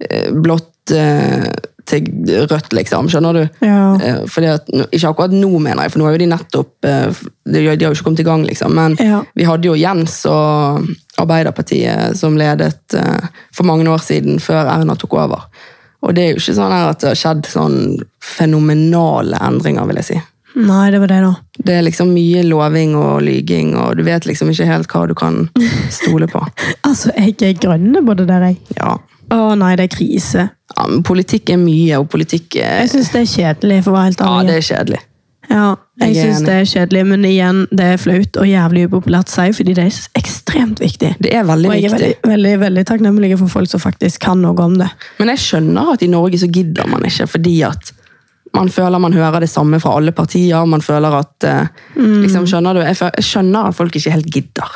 [SPEAKER 1] eh, blått eh, til rødt, liksom. Skjønner du?
[SPEAKER 2] Ja.
[SPEAKER 1] Eh, fordi at, nå- ikke akkurat nå, mener jeg, for nå har jo de nettopp eh, f- De, de har jo ikke kommet i gang, liksom. Men
[SPEAKER 2] Ja.
[SPEAKER 1] vi hadde jo Jens og Arbeiderpartiet som ledet eh, for mange år siden, før Erna tok over. Og det er jo ikke sånn her at det har skjedd sånn fenomenale endringer, vil jeg si.
[SPEAKER 2] Nei, det var det, da.
[SPEAKER 1] Det er liksom mye loving og lyging, og du vet liksom ikke helt hva du kan stole
[SPEAKER 2] <laughs>
[SPEAKER 1] på.
[SPEAKER 2] Altså, jeg er grønne på det der, jeg.
[SPEAKER 1] Ja.
[SPEAKER 2] Å nei, det er krise.
[SPEAKER 1] ja men politikk er mye, og politikk er
[SPEAKER 2] Jeg syns det er kjedelig, for å være helt
[SPEAKER 1] Ja,
[SPEAKER 2] ærlig.
[SPEAKER 1] det er kjedelig.
[SPEAKER 2] Ja, jeg
[SPEAKER 1] Jeg er
[SPEAKER 2] syns det er kjedelig, men igjen, det er flaut og jævlig upopulært å si, fordi det er ekstremt viktig.
[SPEAKER 1] Det er veldig
[SPEAKER 2] Og jeg er
[SPEAKER 1] viktig.
[SPEAKER 2] veldig, veldig, veldig takknemlig for folk som faktisk kan noe om det.
[SPEAKER 1] Men jeg skjønner at i Norge så gidder man ikke, fordi at man føler man hører det samme fra alle partier, man føler at eh,
[SPEAKER 2] Mm.
[SPEAKER 1] liksom, skjønner du, jeg, fø- jeg skjønner at folk ikke helt gidder.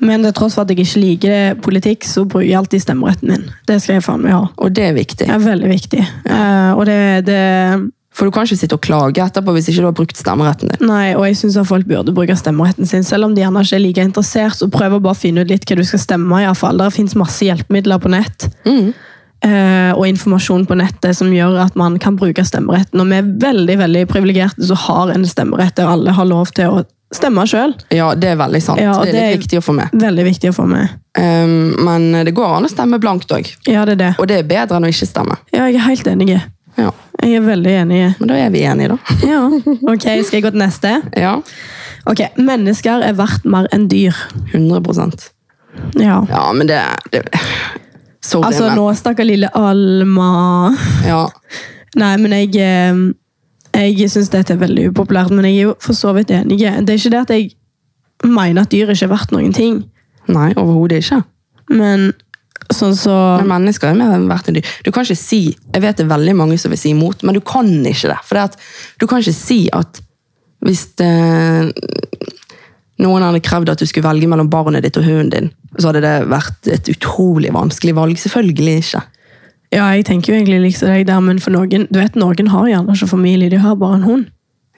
[SPEAKER 2] Men til tross for at jeg ikke liker det, politikk, så bruker jeg alltid stemmeretten min. Det skal jeg faen meg ha.
[SPEAKER 1] Og det er viktig.
[SPEAKER 2] Det er veldig viktig. Eh, og det, det
[SPEAKER 1] For du kan ikke sitte og klage etterpå hvis ikke du har brukt stemmeretten din.
[SPEAKER 2] Nei, og jeg synes at folk burde bruke stemmeretten sin, selv om de gjerne ikke er like interessert, så prøv å bare finne ut litt hva du skal stemme i alle fall. Det finnes masse hjelpemidler på nett, eh, og informasjon på nettet som gjør at man kan bruke stemmeretten, og vi er veldig, veldig privilegierte som har en stemmerett der alle har lov til å stemme selv.
[SPEAKER 1] Ja, det er veldig sant.
[SPEAKER 2] Ja, og
[SPEAKER 1] det er litt
[SPEAKER 2] det
[SPEAKER 1] viktig å få med.
[SPEAKER 2] Veldig viktig å få med.
[SPEAKER 1] Um, men det går an å stemme blankt òg.
[SPEAKER 2] Ja, det er det.
[SPEAKER 1] Og det er bedre enn å ikke stemme.
[SPEAKER 2] Ja, jeg er helt enig.
[SPEAKER 1] Ja,
[SPEAKER 2] Jeg er veldig enig.
[SPEAKER 1] Men da er vi enige, da.
[SPEAKER 2] Ja, ok, skal jeg gå til neste?
[SPEAKER 1] Ja,
[SPEAKER 2] Ok, mennesker er verdt mer enn dyr.
[SPEAKER 1] 100
[SPEAKER 2] Ja.
[SPEAKER 1] Ja, men det, det Sorry,
[SPEAKER 2] Altså,
[SPEAKER 1] men
[SPEAKER 2] nå snakker lille Alma...
[SPEAKER 1] ja.
[SPEAKER 2] Nei, men jeg, eh, Jeg syns dette er veldig upopulært, men jeg er jo for så vidt enig. Det er ikke det at jeg mener at dyr ikke er verdt noen ting,
[SPEAKER 1] Nei, overhodet ikke.
[SPEAKER 2] men sånn så
[SPEAKER 1] Men mennesker er mer verdt enn dyr. Du kan ikke si Jeg vet det er veldig mange som vil si imot, men du kan ikke det. For det at, du kan ikke si at hvis det, noen hadde krevd at du skulle velge mellom barnet ditt og hunden din, så hadde det vært et utrolig vanskelig valg. Selvfølgelig ikke.
[SPEAKER 2] Ja, jeg tenker jo egentlig liksom deg der, men for noen Du vet, noen har gjerne ikke familie, de har bare en hund.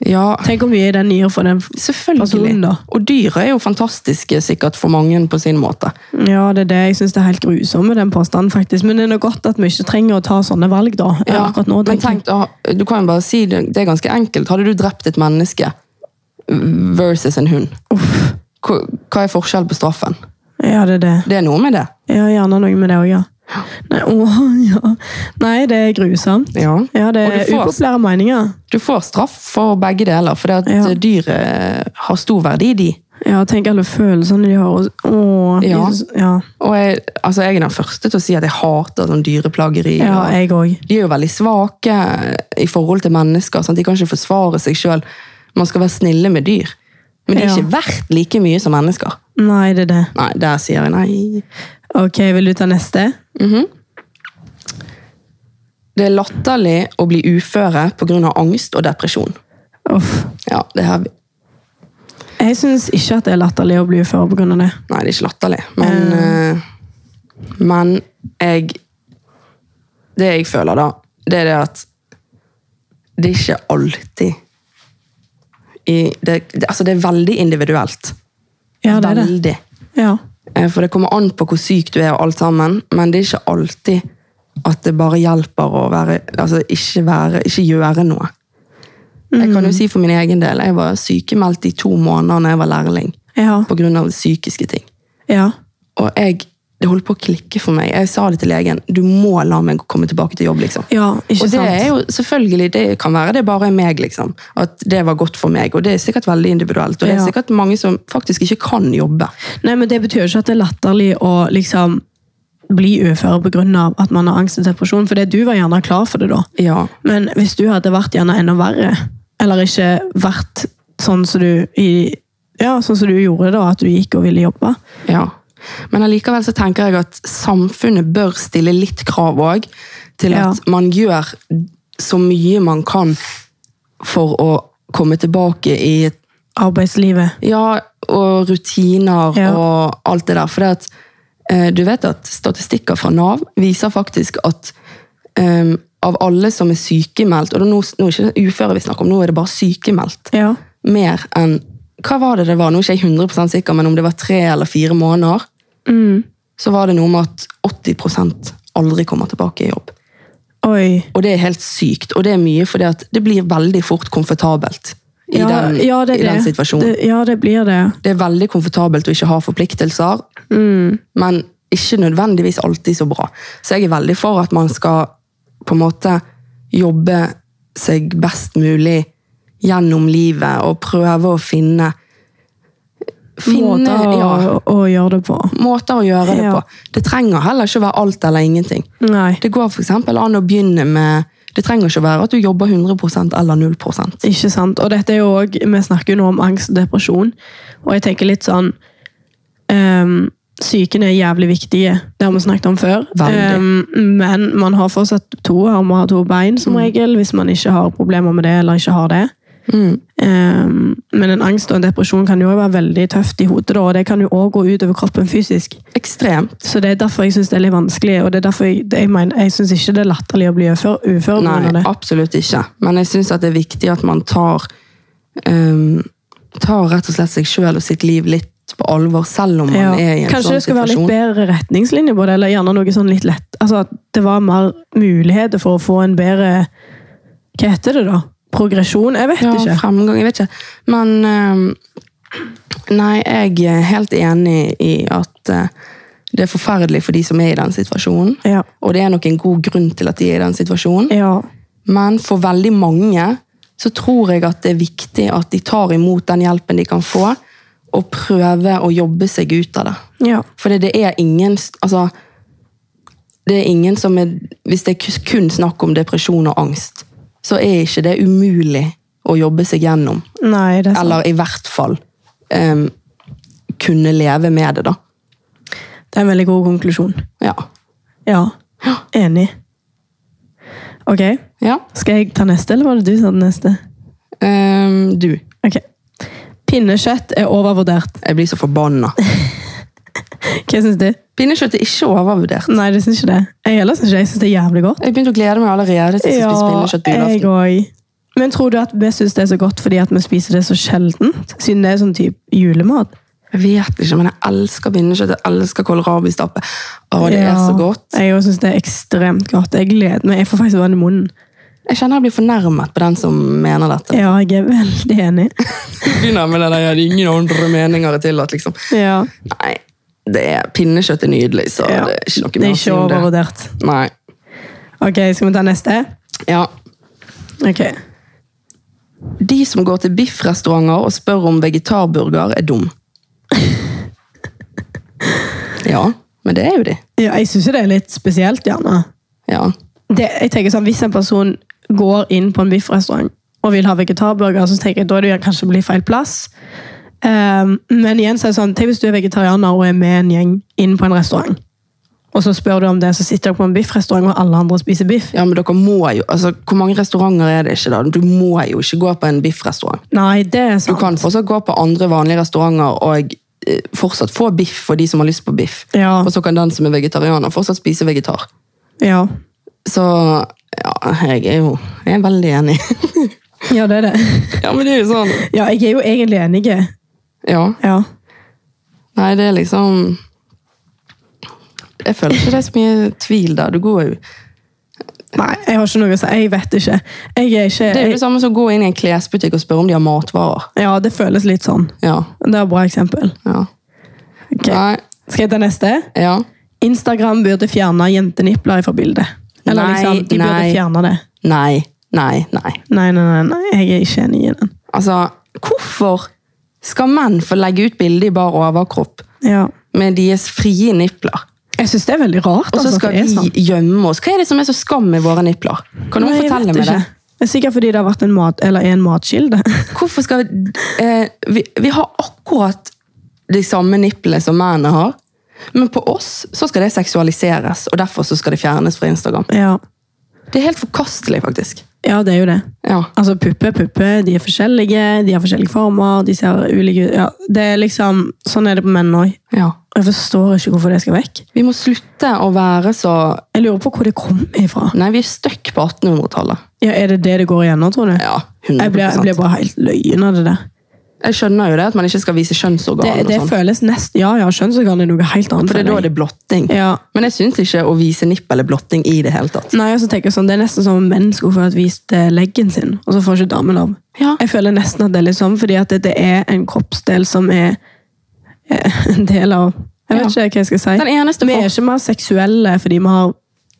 [SPEAKER 1] Ja,
[SPEAKER 2] Tenk hvor mye den gir for den personen,
[SPEAKER 1] selvfølgelig.
[SPEAKER 2] Altså, da.
[SPEAKER 1] Og dyr er jo fantastiske sikkert for mange på sin måte.
[SPEAKER 2] Ja, det er det. Jeg syns det er helt grusomt med den påstanden, faktisk. Men det er nå godt at vi ikke trenger å ta sånne valg, da.
[SPEAKER 1] Ja,
[SPEAKER 2] akkurat nå,
[SPEAKER 1] men
[SPEAKER 2] tenker
[SPEAKER 1] tenk,
[SPEAKER 2] jeg.
[SPEAKER 1] da, du kan jo bare si det, det er ganske enkelt. Hadde du drept et menneske versus en hund,
[SPEAKER 2] Uff.
[SPEAKER 1] hva, hva er forskjellen på straffen?
[SPEAKER 2] Ja, det er det.
[SPEAKER 1] Det er noe med det.
[SPEAKER 2] Ja, gjerne noe med det òg, ja. Nei, åh, <laughs> ja. Nei, det er grusomt.
[SPEAKER 1] Ja.
[SPEAKER 2] Ja, det
[SPEAKER 1] Og
[SPEAKER 2] er
[SPEAKER 1] du får-
[SPEAKER 2] upopulære meninger.
[SPEAKER 1] Du får straff for begge deler, for det at eh,
[SPEAKER 2] Ja.
[SPEAKER 1] dyret har stor verdi, de.
[SPEAKER 2] Ja, tenk alle følelsene de har. og- Åh,
[SPEAKER 1] Ja.
[SPEAKER 2] Jesus. ja.
[SPEAKER 1] Og jeg, altså jeg er den første til å si at jeg hater sånn dyreplageri.
[SPEAKER 2] ja
[SPEAKER 1] og-
[SPEAKER 2] jeg òg.
[SPEAKER 1] De er jo veldig svake i forhold til mennesker. Sant? De kan ikke forsvare seg sjøl. Man skal være snille med dyr. Men de er
[SPEAKER 2] Ja.
[SPEAKER 1] ikke verdt like mye som mennesker.
[SPEAKER 2] Nei, det er det.
[SPEAKER 1] Nei, der sier jeg nei.
[SPEAKER 2] Ok, vil du ta neste?
[SPEAKER 1] Det er latterlig å bli uføre pga. angst og depresjon.
[SPEAKER 2] Uff.
[SPEAKER 1] Ja, det her, nei,
[SPEAKER 2] Jeg syns ikke at det er latterlig å bli ufør pga. det.
[SPEAKER 1] det er ikke latterlig, men, eh, men jeg Det jeg føler, da, det er det at det er ikke alltid i, det, det, altså det er veldig individuelt.
[SPEAKER 2] Ja, det er det.
[SPEAKER 1] veldig.
[SPEAKER 2] Ja.
[SPEAKER 1] Eh, For det kommer an på hvor syk du er og alt sammen, men det er ikke alltid at det bare hjelper å være, altså ikke, være, ikke gjøre noe. Jeg
[SPEAKER 2] Mm.
[SPEAKER 1] kan jo si for min egen del, jeg var sykemeldt i to måneder når jeg var lærling,
[SPEAKER 2] Ja.
[SPEAKER 1] på grunn av psykiske ting.
[SPEAKER 2] ja.
[SPEAKER 1] Og jeg, det holdt på å klikke for meg. Jeg sa det til legen, du må la meg komme tilbake til jobb, liksom.
[SPEAKER 2] Ja, ikke
[SPEAKER 1] Og det
[SPEAKER 2] sant?
[SPEAKER 1] er jo selvfølgelig, det kan være det bare er meg, liksom. At det var godt for meg, og det er sikkert veldig individuelt, og det er
[SPEAKER 2] Ja.
[SPEAKER 1] sikkert mange som faktisk ikke kan jobbe.
[SPEAKER 2] Nei, men Det betyr jo ikke at det er latterlig å liksom bli ufør pga. at man har angst og depresjon, for det, du var gjerne klar for det da.
[SPEAKER 1] Ja,
[SPEAKER 2] Men hvis du hadde vært gjerne enda verre, eller ikke vært sånn som du, i, ja, sånn som du gjorde da, at du gikk og ville jobbe
[SPEAKER 1] Ja. Men allikevel så tenker jeg at samfunnet bør stille litt krav òg til
[SPEAKER 2] Ja.
[SPEAKER 1] at man gjør så mye man kan for å komme tilbake i
[SPEAKER 2] arbeidslivet
[SPEAKER 1] ja, og rutiner
[SPEAKER 2] Ja.
[SPEAKER 1] og alt det der. For det at, eh, du vet at statistikker fra Nav viser faktisk at eh, av alle som er sykemeldt, og nå, nå er det ikke uføre vi snakker om, nå er det bare sykemeldt
[SPEAKER 2] Ja.
[SPEAKER 1] mer enn Hva var det det var? Nå er ikke jeg 100 sikker, men om det var tre eller fire måneder,
[SPEAKER 2] Mm.
[SPEAKER 1] så var det noe med at 80 aldri kommer tilbake i jobb.
[SPEAKER 2] Oi.
[SPEAKER 1] Og det er helt sykt, og det er mye fordi at det blir veldig fort komfortabelt i,
[SPEAKER 2] Ja,
[SPEAKER 1] den,
[SPEAKER 2] ja, det er
[SPEAKER 1] i den
[SPEAKER 2] det.
[SPEAKER 1] situasjonen. Det,
[SPEAKER 2] Det, ja, det blir det.
[SPEAKER 1] er veldig komfortabelt å ikke ha forpliktelser,
[SPEAKER 2] Mm.
[SPEAKER 1] men ikke nødvendigvis alltid så bra. Så jeg er veldig for at man skal på en måte jobbe seg best mulig gjennom livet og prøve å finne
[SPEAKER 2] Måter å,
[SPEAKER 1] ja,
[SPEAKER 2] å gjøre det på.
[SPEAKER 1] måter å gjøre det
[SPEAKER 2] Ja.
[SPEAKER 1] på. Det trenger heller ikke å være alt eller ingenting.
[SPEAKER 2] Nei,
[SPEAKER 1] Det går for eksempel an å begynne med Det trenger ikke å være at du jobber 100 eller 0
[SPEAKER 2] ikke sant. Og dette er jo også, Vi snakker jo nå om angst og depresjon, og jeg tenker litt sånn um, Psyken er jævlig viktige, det har vi snakket om før.
[SPEAKER 1] Veldig.
[SPEAKER 2] Ehm, men man har fortsatt to armer og to bein
[SPEAKER 1] Mm.
[SPEAKER 2] som regel, hvis man ikke har problemer med det eller ikke har det.
[SPEAKER 1] Mm.
[SPEAKER 2] Ehm, men en angst og en depresjon kan jo også være veldig tøft i hodet, da, og det kan jo òg gå utover kroppen fysisk.
[SPEAKER 1] Ekstremt.
[SPEAKER 2] Så det er derfor jeg syns det er litt vanskelig, og det er derfor jeg, det, jeg, mener, jeg syns ikke det er latterlig å bli ufør, ufør på grunn
[SPEAKER 1] Nei,
[SPEAKER 2] av det.
[SPEAKER 1] absolutt ikke. Men jeg syns det er viktig at man tar ehm, Tar rett og slett seg sjøl og sitt liv litt på alvor, selv om man
[SPEAKER 2] Ja.
[SPEAKER 1] er i en
[SPEAKER 2] Kanskje det
[SPEAKER 1] sånn
[SPEAKER 2] skal være litt
[SPEAKER 1] situasjon.
[SPEAKER 2] bedre retningslinjer på det, eller gjerne noe sånn litt lett Altså at det var mer muligheter for å få en bedre Hva heter det, da? Progresjon? Jeg vet
[SPEAKER 1] Ja,
[SPEAKER 2] ikke.
[SPEAKER 1] fremgang. Jeg vet ikke. Men ehm, Nei, jeg er helt enig i at eh, det er forferdelig for de som er i den situasjonen.
[SPEAKER 2] Ja.
[SPEAKER 1] Og det er nok en god grunn til at de er i den situasjonen.
[SPEAKER 2] ja.
[SPEAKER 1] Men for veldig mange så tror jeg at det er viktig at de tar imot den hjelpen de kan få, og prøver å jobbe seg ut av det.
[SPEAKER 2] Ja.
[SPEAKER 1] For det er ingen altså, det er ingen som er, Hvis det er kun snakk om depresjon og angst, så er ikke det umulig å jobbe seg gjennom.
[SPEAKER 2] Nei, det er sant.
[SPEAKER 1] Eller i hvert fall em, kunne leve med det, da.
[SPEAKER 2] Det er en veldig god konklusjon.
[SPEAKER 1] Ja.
[SPEAKER 2] Ja. Enig. Ok,
[SPEAKER 1] ja.
[SPEAKER 2] skal jeg ta neste, eller var det du som hadde neste?
[SPEAKER 1] Em, Ehm, du,
[SPEAKER 2] Ok. Pinnekjøtt er overvurdert.
[SPEAKER 1] jeg blir så forbanna.
[SPEAKER 2] Hva syns du?
[SPEAKER 1] Pinnekjøtt er ikke overvurdert.
[SPEAKER 2] Nei, det syns ikke det. Jeg ellers syns ikke det. Jeg syns det er jævlig godt.
[SPEAKER 1] Jeg begynte å glede meg allerede til jeg skal spise pinnekjøtt på
[SPEAKER 2] jeg
[SPEAKER 1] julaften.
[SPEAKER 2] òg. Men tror du at vi syns det er så godt fordi at vi spiser det så sjeldent? Siden det er sånn type julemat?
[SPEAKER 1] Jeg vet ikke, men jeg elsker pinnekjøtt. Jeg elsker kålrabistappe. Å, det er så godt.
[SPEAKER 2] Jeg òg syns det er ekstremt godt. Jeg gleder meg. Jeg får faktisk vann i munnen.
[SPEAKER 1] Jeg kjenner jeg blir fornærmet på den som mener <laughs> dette.
[SPEAKER 2] Ja, jeg er veldig
[SPEAKER 1] <laughs>
[SPEAKER 2] enig.
[SPEAKER 1] Du begynner med det der, jeg har ingen andre meninger til at liksom
[SPEAKER 2] Ja,
[SPEAKER 1] Nei, det er, pinnekjøtt er nydelig, så
[SPEAKER 2] ja.
[SPEAKER 1] det er ikke noe mer å si om det.
[SPEAKER 2] overvurdert.
[SPEAKER 1] Nei.
[SPEAKER 2] Ok, skal vi ta neste?
[SPEAKER 1] Ja.
[SPEAKER 2] Ok.
[SPEAKER 1] De som går til biffrestauranter og spør om vegetarburger, er <laughs> dum. Ja, men det er jo de.
[SPEAKER 2] Ja, jeg syns jo det er litt spesielt, gjerne.
[SPEAKER 1] Ja.
[SPEAKER 2] Det, jeg tenker sånn, Hvis en person går inn på en biffrestaurant og vil ha vegetarburger, så tenker jeg da er det jo kanskje på litt feil plass. Ehm, men igjen så er det sånn, tenk hvis du er vegetarianer og er med en gjeng inn på en restaurant. Og så spør du om det, så sitter dere på en biffrestaurant og alle andre spiser biff.
[SPEAKER 1] ja, men dere må jo altså, Hvor mange restauranter er det ikke, da? Du må jo ikke gå på en biffrestaurant.
[SPEAKER 2] Nei, det er
[SPEAKER 1] Du
[SPEAKER 2] sant.
[SPEAKER 1] kan fortsatt gå på andre vanlige restauranter og eh, fortsatt få biff for de som har lyst på biff.
[SPEAKER 2] Ja.
[SPEAKER 1] Og så kan den som er vegetarianer, fortsatt spise vegetar.
[SPEAKER 2] Ja.
[SPEAKER 1] Så ja, jeg er jo jeg er veldig enig. <laughs>
[SPEAKER 2] ja, det er det. <laughs>
[SPEAKER 1] ja, men det er jo sånn.
[SPEAKER 2] Ja, jeg er jo egentlig enig.
[SPEAKER 1] Ja.
[SPEAKER 2] Ja.
[SPEAKER 1] Nei, det er liksom Jeg føler ikke det er så mye tvil der. Du går jo
[SPEAKER 2] Nei, jeg har ikke noe å si. Jeg vet ikke. Jeg er ikke
[SPEAKER 1] Det er jo
[SPEAKER 2] jeg,
[SPEAKER 1] det samme som å gå inn i en klesbutikk og spørre om de har matvarer.
[SPEAKER 2] Ja, det føles litt sånn.
[SPEAKER 1] Ja.
[SPEAKER 2] Det er et bra eksempel.
[SPEAKER 1] ja.
[SPEAKER 2] Ok.
[SPEAKER 1] Nei.
[SPEAKER 2] Skal jeg ta neste?
[SPEAKER 1] Ja.
[SPEAKER 2] Instagram burde fjerne jentenipler fra bildet. Eller
[SPEAKER 1] Nei,
[SPEAKER 2] liksom, de burde
[SPEAKER 1] nei.
[SPEAKER 2] fjerne det.
[SPEAKER 1] Nei. Nei. Nei.
[SPEAKER 2] Nei, nei, nei, nei, jeg er ikke enig i den.
[SPEAKER 1] Altså, hvorfor skal menn få legge ut bilde i bar overkropp
[SPEAKER 2] Ja.
[SPEAKER 1] med deres frie nipler?
[SPEAKER 2] Jeg syns det er veldig
[SPEAKER 1] Og
[SPEAKER 2] rart.
[SPEAKER 1] så
[SPEAKER 2] altså, at
[SPEAKER 1] skal
[SPEAKER 2] det er sånn.
[SPEAKER 1] vi gjemme oss. Hva er det som er så skam med våre nipler? Kan noen
[SPEAKER 2] Nei, jeg
[SPEAKER 1] fortelle
[SPEAKER 2] vet
[SPEAKER 1] meg det?
[SPEAKER 2] ikke. Det er sikkert fordi det har vært en mat, eller er en
[SPEAKER 1] <laughs>
[SPEAKER 2] matskilde.
[SPEAKER 1] Hvorfor skal vi, eh, vi Vi har akkurat de samme nipplene som mennene har. Men på oss så skal det seksualiseres, og derfor så skal det fjernes fra Instagram.
[SPEAKER 2] ja.
[SPEAKER 1] Det er helt forkastelig, faktisk.
[SPEAKER 2] ja, det er jo det.
[SPEAKER 1] Ja.
[SPEAKER 2] Altså, pupper, pupper, de er forskjellige, de har forskjellige former, de ser ulike ut. Ja, det er liksom, sånn er det på menn òg.
[SPEAKER 1] ja.
[SPEAKER 2] Jeg forstår ikke hvorfor det skal vekk.
[SPEAKER 1] Vi må slutte å være så
[SPEAKER 2] Jeg lurer på hvor det kom ifra.
[SPEAKER 1] Nei, vi er stuck på 1800-tallet.
[SPEAKER 2] Ja, Er det det det går igjennom, tror du?
[SPEAKER 1] Ja,
[SPEAKER 2] jeg,
[SPEAKER 1] 100
[SPEAKER 2] blir, jeg blir bare helt løyen av det der.
[SPEAKER 1] Jeg skjønner jo det, at man ikke skal vise
[SPEAKER 2] Det,
[SPEAKER 1] kjønnsorgan.
[SPEAKER 2] det
[SPEAKER 1] og sånn.
[SPEAKER 2] føles nest... Ja, ja, kjønnsorgan er noe helt annet.
[SPEAKER 1] For det er da
[SPEAKER 2] føler jeg.
[SPEAKER 1] det er blotting.
[SPEAKER 2] Ja.
[SPEAKER 1] Men jeg syns ikke å vise nipp eller blotting i det hele tatt.
[SPEAKER 2] Nei, og så tenker jeg sånn, Det er nesten som om menn skulle få vist eh, leggen sin, og så får ikke damen lov.
[SPEAKER 1] Ja.
[SPEAKER 2] Jeg føler nesten at det er litt sånn, fordi at det, det er en kroppsdel som er eh, <laughs> en del av Jeg vet
[SPEAKER 1] Ja.
[SPEAKER 2] ikke hva jeg skal si.
[SPEAKER 1] Den eneste
[SPEAKER 2] vi er ikke mer seksuelle fordi vi har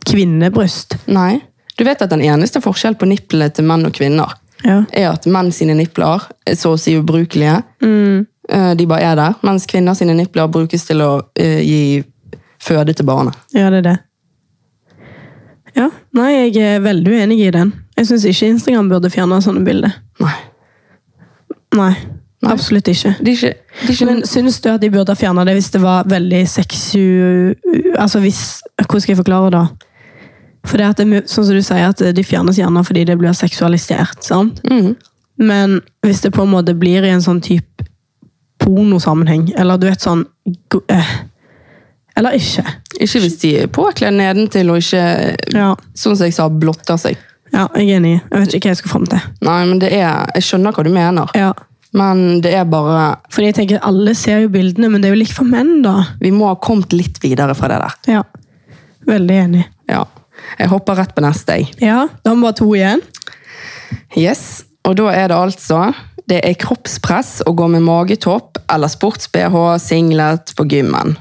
[SPEAKER 2] kvinnebryst.
[SPEAKER 1] Nei. Du vet at den eneste forskjellen på nipplene til menn og kvinner
[SPEAKER 2] Ja.
[SPEAKER 1] er at menn sine nipler er så å si ubrukelige. Eh, De bare er der. Mens kvinner sine nipler brukes til å eh, gi føde til barnet.
[SPEAKER 2] Ja, det er det. Ja, nei, jeg er veldig uenig i den. Jeg syns ikke Instagram burde fjerne sånne bilder.
[SPEAKER 1] Nei.
[SPEAKER 2] Nei, absolutt ikke.
[SPEAKER 1] De er ikke, de er ikke
[SPEAKER 2] Men syns du at de burde ha fjerna det hvis det var veldig sexu... Altså hvis Hvordan skal jeg forklare det? For det at det, er mu- sånn som du sier, at de fjernes gjerne fordi det blir seksualisert. sant?
[SPEAKER 1] Mhm.
[SPEAKER 2] Men hvis det på en måte blir i en sånn type pornosammenheng, eller du vet sånn go- eh, Eller ikke.
[SPEAKER 1] Ikke hvis de er påkledd nedentil og ikke,
[SPEAKER 2] Ja.
[SPEAKER 1] sånn som jeg sa, blotter seg.
[SPEAKER 2] Ja, jeg er enig. Jeg vet ikke hva jeg skal fram til.
[SPEAKER 1] Nei, men det er Jeg skjønner hva du mener,
[SPEAKER 2] Ja.
[SPEAKER 1] men det er bare
[SPEAKER 2] Fordi jeg tenker, Alle ser jo bildene, men det er jo likt for menn, da.
[SPEAKER 1] Vi må ha kommet litt videre fra det der.
[SPEAKER 2] Ja. Veldig enig.
[SPEAKER 1] Ja. Jeg hopper rett på neste, jeg.
[SPEAKER 2] Ja, Da har vi bare to igjen.
[SPEAKER 1] Yes, og da er det altså Det er kroppspress å gå med magetopp eller sports-BH singlet på <laughs> gymmen.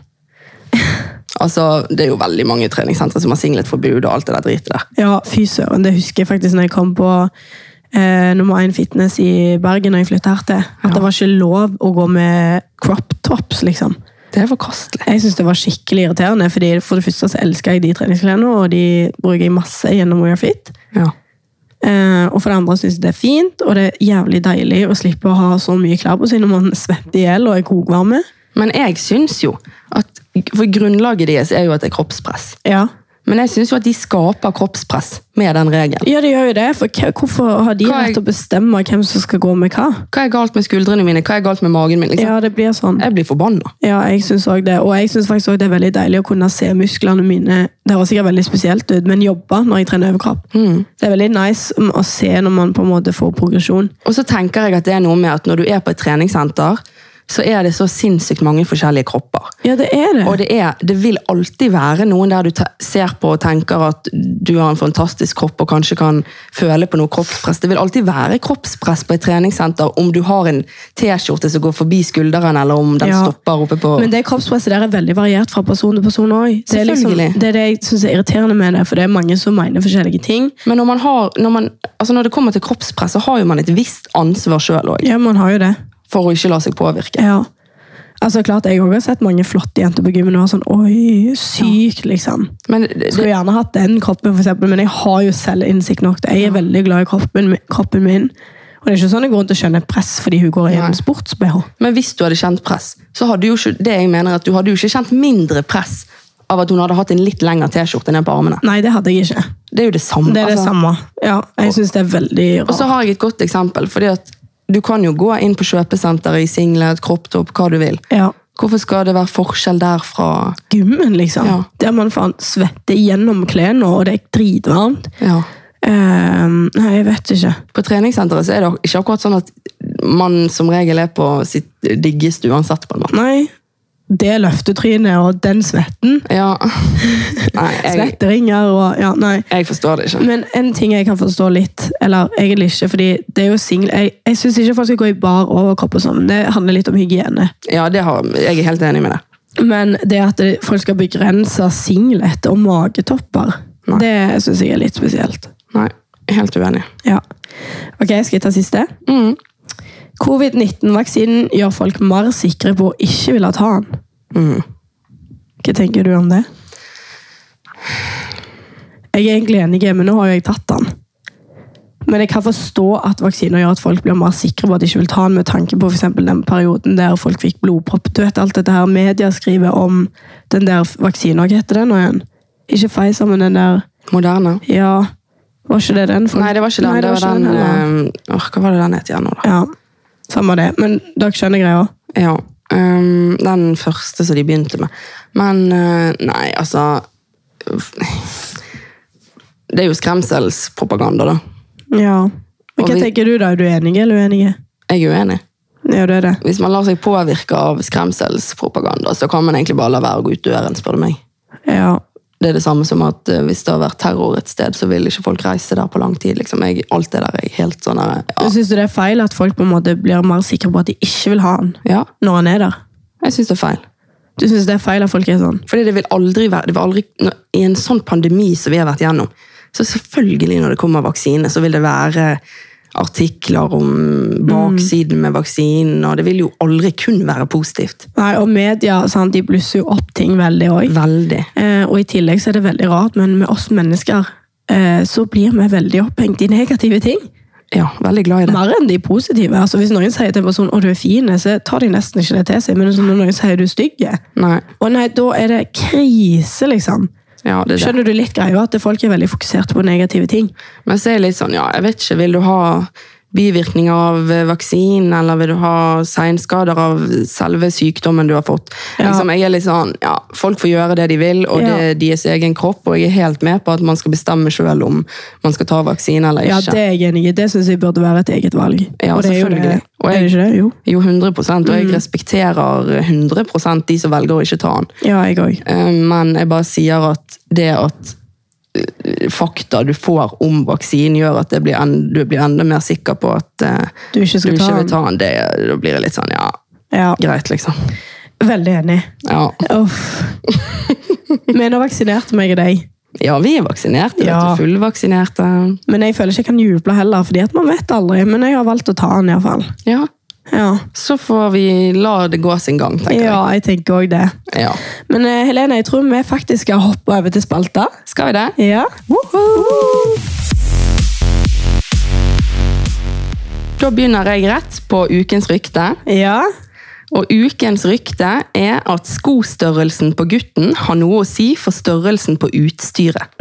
[SPEAKER 1] Altså, Det er jo veldig mange treningssentre som har singletforbud og alt det der dritet der.
[SPEAKER 2] Ja, Fy søren, det husker jeg faktisk når jeg kom på eh, nummer én fitness i Bergen. når jeg flyttet her til. At det var ikke lov å gå med crop tops, liksom.
[SPEAKER 1] Det er forkastelig.
[SPEAKER 2] Jeg synes det var skikkelig irriterende, fordi for det første så elsker jeg de treningsklærne, og de bruker jeg masse gjennom Wear Fit.
[SPEAKER 1] Ja.
[SPEAKER 2] Eh, og for det andre syns jeg det er fint, og det er jævlig deilig å slippe å ha så mye klær på seg når man svetter i hjel og er kokvarme.
[SPEAKER 1] Men jeg syns jo at For grunnlaget deres er jo at det er kroppspress.
[SPEAKER 2] Ja.
[SPEAKER 1] Men jeg syns jo at de skaper kroppspress med den regelen.
[SPEAKER 2] ja, det gjør jo det, for hva- hvorfor har de
[SPEAKER 1] Hva er-
[SPEAKER 2] rett til å bestemme hvem som skal gå med hva?
[SPEAKER 1] Hva er galt med skuldrene mine? Hva er galt med magen min? Liksom.
[SPEAKER 2] Ja, det blir sånn.
[SPEAKER 1] Jeg blir forbanna.
[SPEAKER 2] Ja, jeg syns òg det. Og jeg synes faktisk også det er veldig deilig å kunne se musklene mine Det høres sikkert veldig spesielt ut, men jobbe når jeg trener overkropp. Det er veldig nice mm, å se når man på en måte får progresjon.
[SPEAKER 1] Og så tenker jeg at det er noe med at når du er på et treningssenter, så er det så sinnssykt mange forskjellige kropper.
[SPEAKER 2] Ja, det er det.
[SPEAKER 1] Og det, er, det vil alltid være noen der du te- ser på og tenker at du har en fantastisk kropp og kanskje kan føle på noe kroppspress. Det vil alltid være kroppspress på et treningssenter om du har en T-skjorte som går forbi skulderen, eller om den
[SPEAKER 2] Ja.
[SPEAKER 1] stopper oppe på
[SPEAKER 2] Men det kroppspresset der er veldig variert fra person til person òg. Det, er liksom,
[SPEAKER 1] Selvfølgelig.
[SPEAKER 2] det er det jeg syns er irriterende med det, for det er mange som mener forskjellige ting.
[SPEAKER 1] Men når, man har, når, man, altså når det kommer til kroppspress, så har jo man et visst ansvar sjøl
[SPEAKER 2] Ja, man har jo det.
[SPEAKER 1] for å ikke la seg påvirke.
[SPEAKER 2] Ja. Altså, klart, Jeg også har sett mange flotte jenter på gymmen og har sånn Oi, sykt, liksom.
[SPEAKER 1] Men det,
[SPEAKER 2] Skulle gjerne hatt den kroppen, for eksempel, men jeg har jo selvinnsikt nok. Jeg er veldig glad i kroppen, kroppen min. Og det er ikke sånn jeg går rundt og skjønner press fordi hun går i
[SPEAKER 1] Nei.
[SPEAKER 2] en sports-BH.
[SPEAKER 1] men hvis du hadde kjent press, så hadde jo ikke, det jeg mener at du hadde jo ikke kjent mindre press av at hun hadde hatt en litt lengre T-skjorte ned på armene.
[SPEAKER 2] Nei, det hadde jeg ikke.
[SPEAKER 1] Det er jo det samme.
[SPEAKER 2] Det er det
[SPEAKER 1] altså.
[SPEAKER 2] samme. Ja, jeg syns det er veldig
[SPEAKER 1] Og så
[SPEAKER 2] rart.
[SPEAKER 1] har jeg et godt eksempel. fordi at du kan jo gå inn på kjøpesenteret i singlet, kropptopp, hva du vil.
[SPEAKER 2] Ja.
[SPEAKER 1] Hvorfor skal det være forskjell der fra
[SPEAKER 2] Gymmen, liksom.
[SPEAKER 1] Ja.
[SPEAKER 2] Der man faen svetter gjennom klærne, og det er dritvarmt.
[SPEAKER 1] ja.
[SPEAKER 2] Eh, nei, jeg vet ikke.
[SPEAKER 1] På treningssenteret så er det ikke akkurat sånn at man som regel er på sitt diggeste uansett. på en måte.
[SPEAKER 2] Nei. Det løftetrynet og den svetten.
[SPEAKER 1] Ja. <laughs> Nei, jeg,
[SPEAKER 2] Svetteringer og Ja, nei.
[SPEAKER 1] jeg forstår det ikke.
[SPEAKER 2] Men en ting jeg kan forstå litt, eller egentlig ikke, fordi det er jo single Jeg, jeg syns ikke folk skal gå i bar overkropp og sånn. Det handler litt om hygiene.
[SPEAKER 1] Ja, det har, Jeg er helt enig med det.
[SPEAKER 2] Men det at det- folk skal begrense singlet og magetopper,
[SPEAKER 1] Nei.
[SPEAKER 2] det syns jeg er litt spesielt.
[SPEAKER 1] Nei, helt uenig.
[SPEAKER 2] Ja. Ok, skal jeg ta siste?
[SPEAKER 1] Mm.
[SPEAKER 2] Covid-19-vaksinen gjør folk mer sikre på å ikke ville ta den.
[SPEAKER 1] Mm.
[SPEAKER 2] Hva tenker du om det? Jeg er egentlig enig, men nå har jo jeg tatt den. Men jeg kan forstå at vaksiner gjør at folk blir mer sikre på at de ikke vil ta den, med tanke på for eksempel den perioden der folk fikk blodpropp. Du vet alt dette her media skriver om den der vaksinen, hva heter den nå igjen? Ikke Pfizer, men den der,
[SPEAKER 1] Moderne.
[SPEAKER 2] ja, var ikke det den? Folk-
[SPEAKER 1] Nei, det var ikke den.
[SPEAKER 2] Nei,
[SPEAKER 1] det, var
[SPEAKER 2] ikke
[SPEAKER 1] den,
[SPEAKER 2] heller.
[SPEAKER 1] eh, åh, Hva var det den het igjen nå, da?
[SPEAKER 2] Ja, samme det. Men dere skjønner greia.
[SPEAKER 1] Ja, ehm, Den første som de begynte med. Men eh, nei, altså Det er jo skremselspropaganda, da.
[SPEAKER 2] Ja. Men
[SPEAKER 1] Og
[SPEAKER 2] hva
[SPEAKER 1] vi-
[SPEAKER 2] tenker du da? Er du enig eller
[SPEAKER 1] Jeg
[SPEAKER 2] uenig?
[SPEAKER 1] er uenig.
[SPEAKER 2] Ja, det er det.
[SPEAKER 1] Hvis man lar seg påvirke av skremselspropaganda, så kan man egentlig bare la være å gå ut døren, spør du meg.
[SPEAKER 2] Ja.
[SPEAKER 1] Det er det samme som at eh, hvis det har vært terror et sted, så vil ikke folk reise der på lang tid. Liksom. Jeg, alt det der er jeg helt sånn der, ja,
[SPEAKER 2] Synes du det er feil at folk på en måte blir mer sikre på at de ikke vil ha den
[SPEAKER 1] ja,
[SPEAKER 2] når han er der?
[SPEAKER 1] jeg syns det er feil.
[SPEAKER 2] Du synes det er feil at folk er sånn?
[SPEAKER 1] Fordi det vil aldri være det vil aldri, når, I en sånn pandemi som vi har vært gjennom, så selvfølgelig når det kommer vaksine, så vil det være artikler om baksiden med vaksinen, og det vil jo aldri kun være positivt.
[SPEAKER 2] Nei, og media sant, de blusser jo opp ting veldig òg.
[SPEAKER 1] Veldig.
[SPEAKER 2] Eh, og i tillegg så er det veldig rart, men med oss mennesker eh, så blir vi veldig opphengt i negative ting.
[SPEAKER 1] Ja, veldig glad i det.
[SPEAKER 2] Mer enn de positive. Altså, hvis noen sier til en person 'å, du er fin', så tar de nesten ikke det til seg. Men det er sånn når noen sier 'du er stygg',
[SPEAKER 1] Nei,
[SPEAKER 2] og nei, da er det krise, liksom.
[SPEAKER 1] ja, det er det.
[SPEAKER 2] Skjønner du litt greia at folk er veldig fokusert på negative ting?
[SPEAKER 1] Men så er jeg litt sånn, ja, jeg vet ikke, vil du ha bivirkninger av eh, vaksinen, eller vil du ha seinskader av selve sykdommen du har fått?
[SPEAKER 2] Ja.
[SPEAKER 1] Liksom, jeg er litt sånn, ja, folk får gjøre det de vil, og det
[SPEAKER 2] Ja.
[SPEAKER 1] er deres egen kropp, og jeg er helt med på at man skal bestemme selv om man skal ta vaksine eller
[SPEAKER 2] Ja,
[SPEAKER 1] ikke.
[SPEAKER 2] det er jeg enig i. Det syns jeg burde være et eget valg.
[SPEAKER 1] Ja,
[SPEAKER 2] og det er jo
[SPEAKER 1] selvfølgelig.
[SPEAKER 2] det.
[SPEAKER 1] Og
[SPEAKER 2] er det
[SPEAKER 1] jeg-
[SPEAKER 2] ikke det? Jo.
[SPEAKER 1] Jo, 100 og
[SPEAKER 2] Mm.
[SPEAKER 1] jeg respekterer 100 de som velger å ikke ta den.
[SPEAKER 2] Ja, jeg òg.
[SPEAKER 1] Eh, Men jeg bare sier at det at eh, fakta du får om vaksinen gjør at det blir en, du blir enda mer sikker på at eh,
[SPEAKER 2] Du ikke
[SPEAKER 1] du
[SPEAKER 2] skal
[SPEAKER 1] ikke
[SPEAKER 2] ta
[SPEAKER 1] vil
[SPEAKER 2] den.
[SPEAKER 1] ta den, det, da blir det litt sånn, ja,
[SPEAKER 2] Ja,
[SPEAKER 1] greit, liksom.
[SPEAKER 2] veldig enig.
[SPEAKER 1] Ja,
[SPEAKER 2] Uff.
[SPEAKER 1] <laughs>
[SPEAKER 2] Men nå vaksinerte meg og deg.
[SPEAKER 1] ja vi er vaksinerte,
[SPEAKER 2] Ja.
[SPEAKER 1] vet du, fullvaksinerte.
[SPEAKER 2] Men jeg føler ikke jeg kan juble heller, fordi at man vet aldri. Men jeg har valgt å ta den iallfall.
[SPEAKER 1] Ja,
[SPEAKER 2] Ja.
[SPEAKER 1] så får vi la det gå sin gang, tenker
[SPEAKER 2] ja, jeg tenker òg det.
[SPEAKER 1] jeg. Ja.
[SPEAKER 2] Men eh, Helene, jeg tror vi faktisk skal hoppe over til spalta.
[SPEAKER 1] Skal vi det?
[SPEAKER 2] Ja.
[SPEAKER 1] Da begynner jeg rett på ukens rykte.
[SPEAKER 2] Ja.
[SPEAKER 1] Og ukens rykte er at skostørrelsen på gutten har noe å si for størrelsen på
[SPEAKER 2] <laughs>
[SPEAKER 1] utstyret.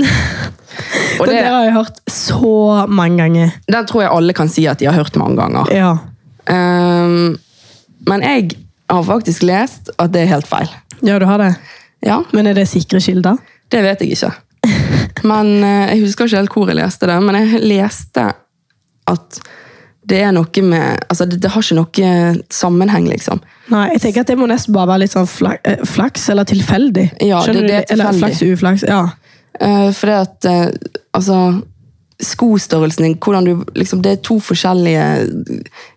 [SPEAKER 1] Og
[SPEAKER 2] det,
[SPEAKER 1] det,
[SPEAKER 2] der har jeg hørt så mange ganger.
[SPEAKER 1] den tror jeg alle kan si at de har hørt mange ganger.
[SPEAKER 2] Ja.
[SPEAKER 1] Ehm, men jeg har faktisk lest at det er helt feil.
[SPEAKER 2] ja, du har det.
[SPEAKER 1] Ja,
[SPEAKER 2] Men er det sikre kilder?
[SPEAKER 1] det vet jeg ikke. Men eh, jeg husker ikke helt hvor jeg leste det, men jeg leste at det er noe med Altså, det, det har ikke noe sammenheng, liksom.
[SPEAKER 2] Nei, jeg tenker at det må nesten bare være litt sånn flak- eh, flaks eller tilfeldig.
[SPEAKER 1] Ja, det-
[SPEAKER 2] Skjønner du
[SPEAKER 1] det er tilfeldig.
[SPEAKER 2] Eller flaks og uflaks, ja.
[SPEAKER 1] Uh, fordi at eh, altså, skostørrelsen din hvordan du, liksom, Det er to forskjellige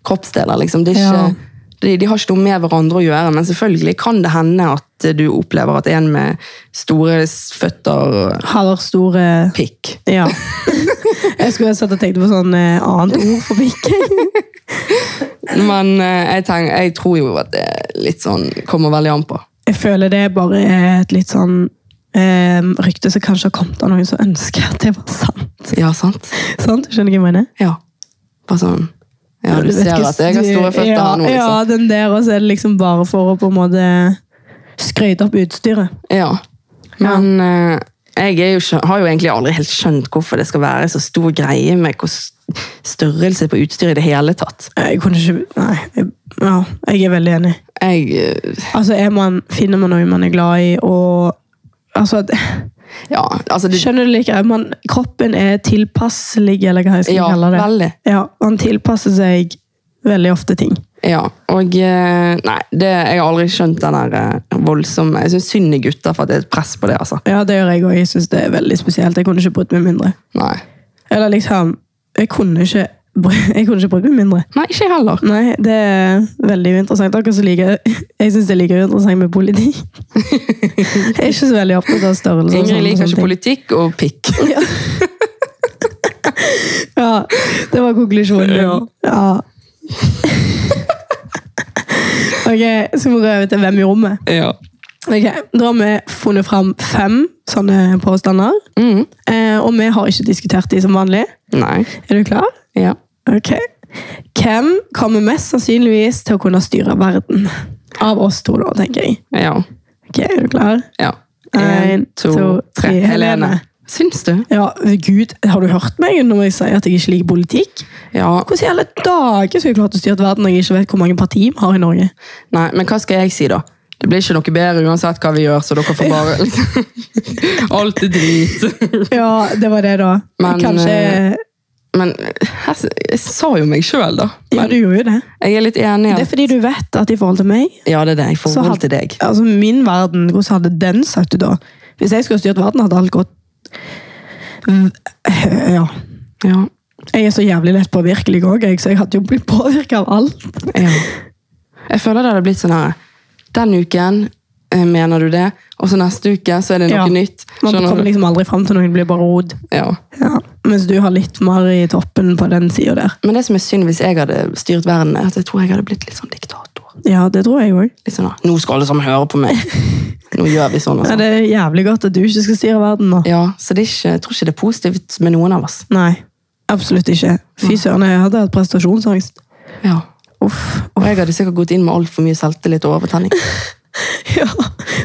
[SPEAKER 1] kroppsdeler. Liksom. Det er ikke,
[SPEAKER 2] Ja.
[SPEAKER 1] de, de har ikke noe med hverandre å gjøre, men selvfølgelig kan det hende at du opplever at en med store s- føtter
[SPEAKER 2] Har store
[SPEAKER 1] pikk.
[SPEAKER 2] Ja. Jeg skulle satt og tenkt på sånn eh, annet ord for pikk.
[SPEAKER 1] Men eh, jeg, tenker, jeg tror jo at det er litt sånn kommer veldig an på.
[SPEAKER 2] Jeg føler det bare er et litt sånn eh, rykte som kanskje har kommet av noen som ønsker at det var sant.
[SPEAKER 1] Ja, sant?
[SPEAKER 2] Sant? Skjønner du hva jeg mener?
[SPEAKER 1] Ja. Bare sånn Ja, du
[SPEAKER 2] vet
[SPEAKER 1] ser
[SPEAKER 2] ikke-
[SPEAKER 1] at jeg har <laughs> store føtter
[SPEAKER 2] ja,
[SPEAKER 1] her nå,
[SPEAKER 2] Ja,
[SPEAKER 1] liksom.
[SPEAKER 2] den der, og så er det liksom bare for å på en måte skryte opp utstyret.
[SPEAKER 1] Ja. Men eh, jeg er jo, skjø- har jo egentlig aldri helt skjønt hvorfor det skal være så stor greie med hvor s- størrelse på utstyr i det hele tatt.
[SPEAKER 2] Jeg kunne ikke Nei. Jeg, ja, jeg er veldig enig.
[SPEAKER 1] Jeg, eh,
[SPEAKER 2] Altså, er man, finner man noe man er glad i, og Altså, <laughs> det,
[SPEAKER 1] ja, altså det,
[SPEAKER 2] skjønner du like man, Kroppen er tilpasselig, eller hva jeg skal
[SPEAKER 1] Ja,
[SPEAKER 2] kalle det.
[SPEAKER 1] veldig.
[SPEAKER 2] Ja, Man tilpasser seg veldig ofte ting.
[SPEAKER 1] ja, og eh, nei, det, jeg har aldri skjønt den der eh, voldsomme Jeg syns synd i gutter for at det er et press på det, altså.
[SPEAKER 2] Ja, det gjør jeg òg. Jeg syns det er veldig spesielt. Jeg kunne ikke brydd meg mindre.
[SPEAKER 1] Nei.
[SPEAKER 2] Eller liksom Jeg kunne ikke bry- <laughs> jeg kunne ikke brydd meg mindre.
[SPEAKER 1] Nei, ikke jeg heller.
[SPEAKER 2] Nei, det er veldig uinteressant. Akkurat så liker Jeg syns det er like uinteressant med
[SPEAKER 1] <laughs>
[SPEAKER 2] politikk. Jeg er ikke så veldig opptatt av størrelse. og
[SPEAKER 1] Ingrid
[SPEAKER 2] sånn-
[SPEAKER 1] liker
[SPEAKER 2] sånne
[SPEAKER 1] ikke
[SPEAKER 2] ting.
[SPEAKER 1] politikk og pikk.
[SPEAKER 2] Ja, det var konklusjonen. min.
[SPEAKER 1] Ja.
[SPEAKER 2] ja. Ok, så må vi gå over til hvem i rommet.
[SPEAKER 1] <laughs> Ja.
[SPEAKER 2] Ok, Da har vi funnet fram fem sånne påstander.
[SPEAKER 1] Mm.
[SPEAKER 2] Eh, og vi har ikke diskutert de som vanlig.
[SPEAKER 1] Nei.
[SPEAKER 2] Er du klar?
[SPEAKER 1] Ja.
[SPEAKER 2] Ok. Hvem kommer mest sannsynligvis til å kunne styre verden? Av oss to, da, tenker jeg.
[SPEAKER 1] Ja.
[SPEAKER 2] Ok, Er du klar?
[SPEAKER 1] ja.
[SPEAKER 2] En, to, tre. Helene.
[SPEAKER 1] Syns du?
[SPEAKER 2] Ja, gud, Har du hørt meg når jeg sier at jeg ikke liker politikk?
[SPEAKER 1] Ja.
[SPEAKER 2] Hvordan i alle dager skulle jeg klart å styre verden når jeg ikke vet hvor mange partier vi har i Norge?
[SPEAKER 1] Nei, men hva skal jeg si da? Det blir ikke noe bedre uansett hva vi gjør, så dere får bare <laughs> Alt er drit.
[SPEAKER 2] Ja, det var det, da.
[SPEAKER 1] Men,
[SPEAKER 2] Kanskje
[SPEAKER 1] eh, Men jeg, jeg sa jo meg sjøl, da.
[SPEAKER 2] Ja, du gjorde jo det.
[SPEAKER 1] Jeg er litt enig i
[SPEAKER 2] Det er
[SPEAKER 1] at
[SPEAKER 2] fordi du vet at i forhold til meg
[SPEAKER 1] Ja, det er det. I
[SPEAKER 2] så
[SPEAKER 1] forhold
[SPEAKER 2] hadde-
[SPEAKER 1] til deg.
[SPEAKER 2] Altså, Min verden, hvordan hadde den sagt det da? Hvis jeg skulle styrt verden, hadde alt gått V- Ja.
[SPEAKER 1] Ja.
[SPEAKER 2] Jeg er så jævlig lett påvirkelig òg, jeg, så jeg hadde jo blitt påvirka av alt.
[SPEAKER 1] ja. Jeg føler det hadde blitt sånn her Den uken eh, mener du det, og så neste uke så er det noe
[SPEAKER 2] Ja.
[SPEAKER 1] nytt.
[SPEAKER 2] Man kommer
[SPEAKER 1] Skjønner du?
[SPEAKER 2] liksom aldri fram til noe, det blir bare rod.
[SPEAKER 1] Ja.
[SPEAKER 2] Ja. Mens du har litt mer i toppen på den sida der.
[SPEAKER 1] Men det som er synd hvis jeg hadde styrt verden, er at jeg tror jeg hadde blitt litt sånn diktator.
[SPEAKER 2] Ja, det tror jeg òg.
[SPEAKER 1] Litt sånn, Nå skal alle sammen høre på <laughs> meg! Nå gjør vi sånn og
[SPEAKER 2] Ja,
[SPEAKER 1] sånn.
[SPEAKER 2] det er jævlig godt at du ikke skal styre verden nå.
[SPEAKER 1] Ja, så det er ikke, jeg tror ikke det er positivt med noen av oss.
[SPEAKER 2] Nei, absolutt ikke. Fy søren, jeg hadde hatt prestasjonsangst.
[SPEAKER 1] Ja.
[SPEAKER 2] Uff. <laughs>
[SPEAKER 1] Og jeg hadde sikkert gått inn med altfor mye selvtillit og overtenning.
[SPEAKER 2] Ja.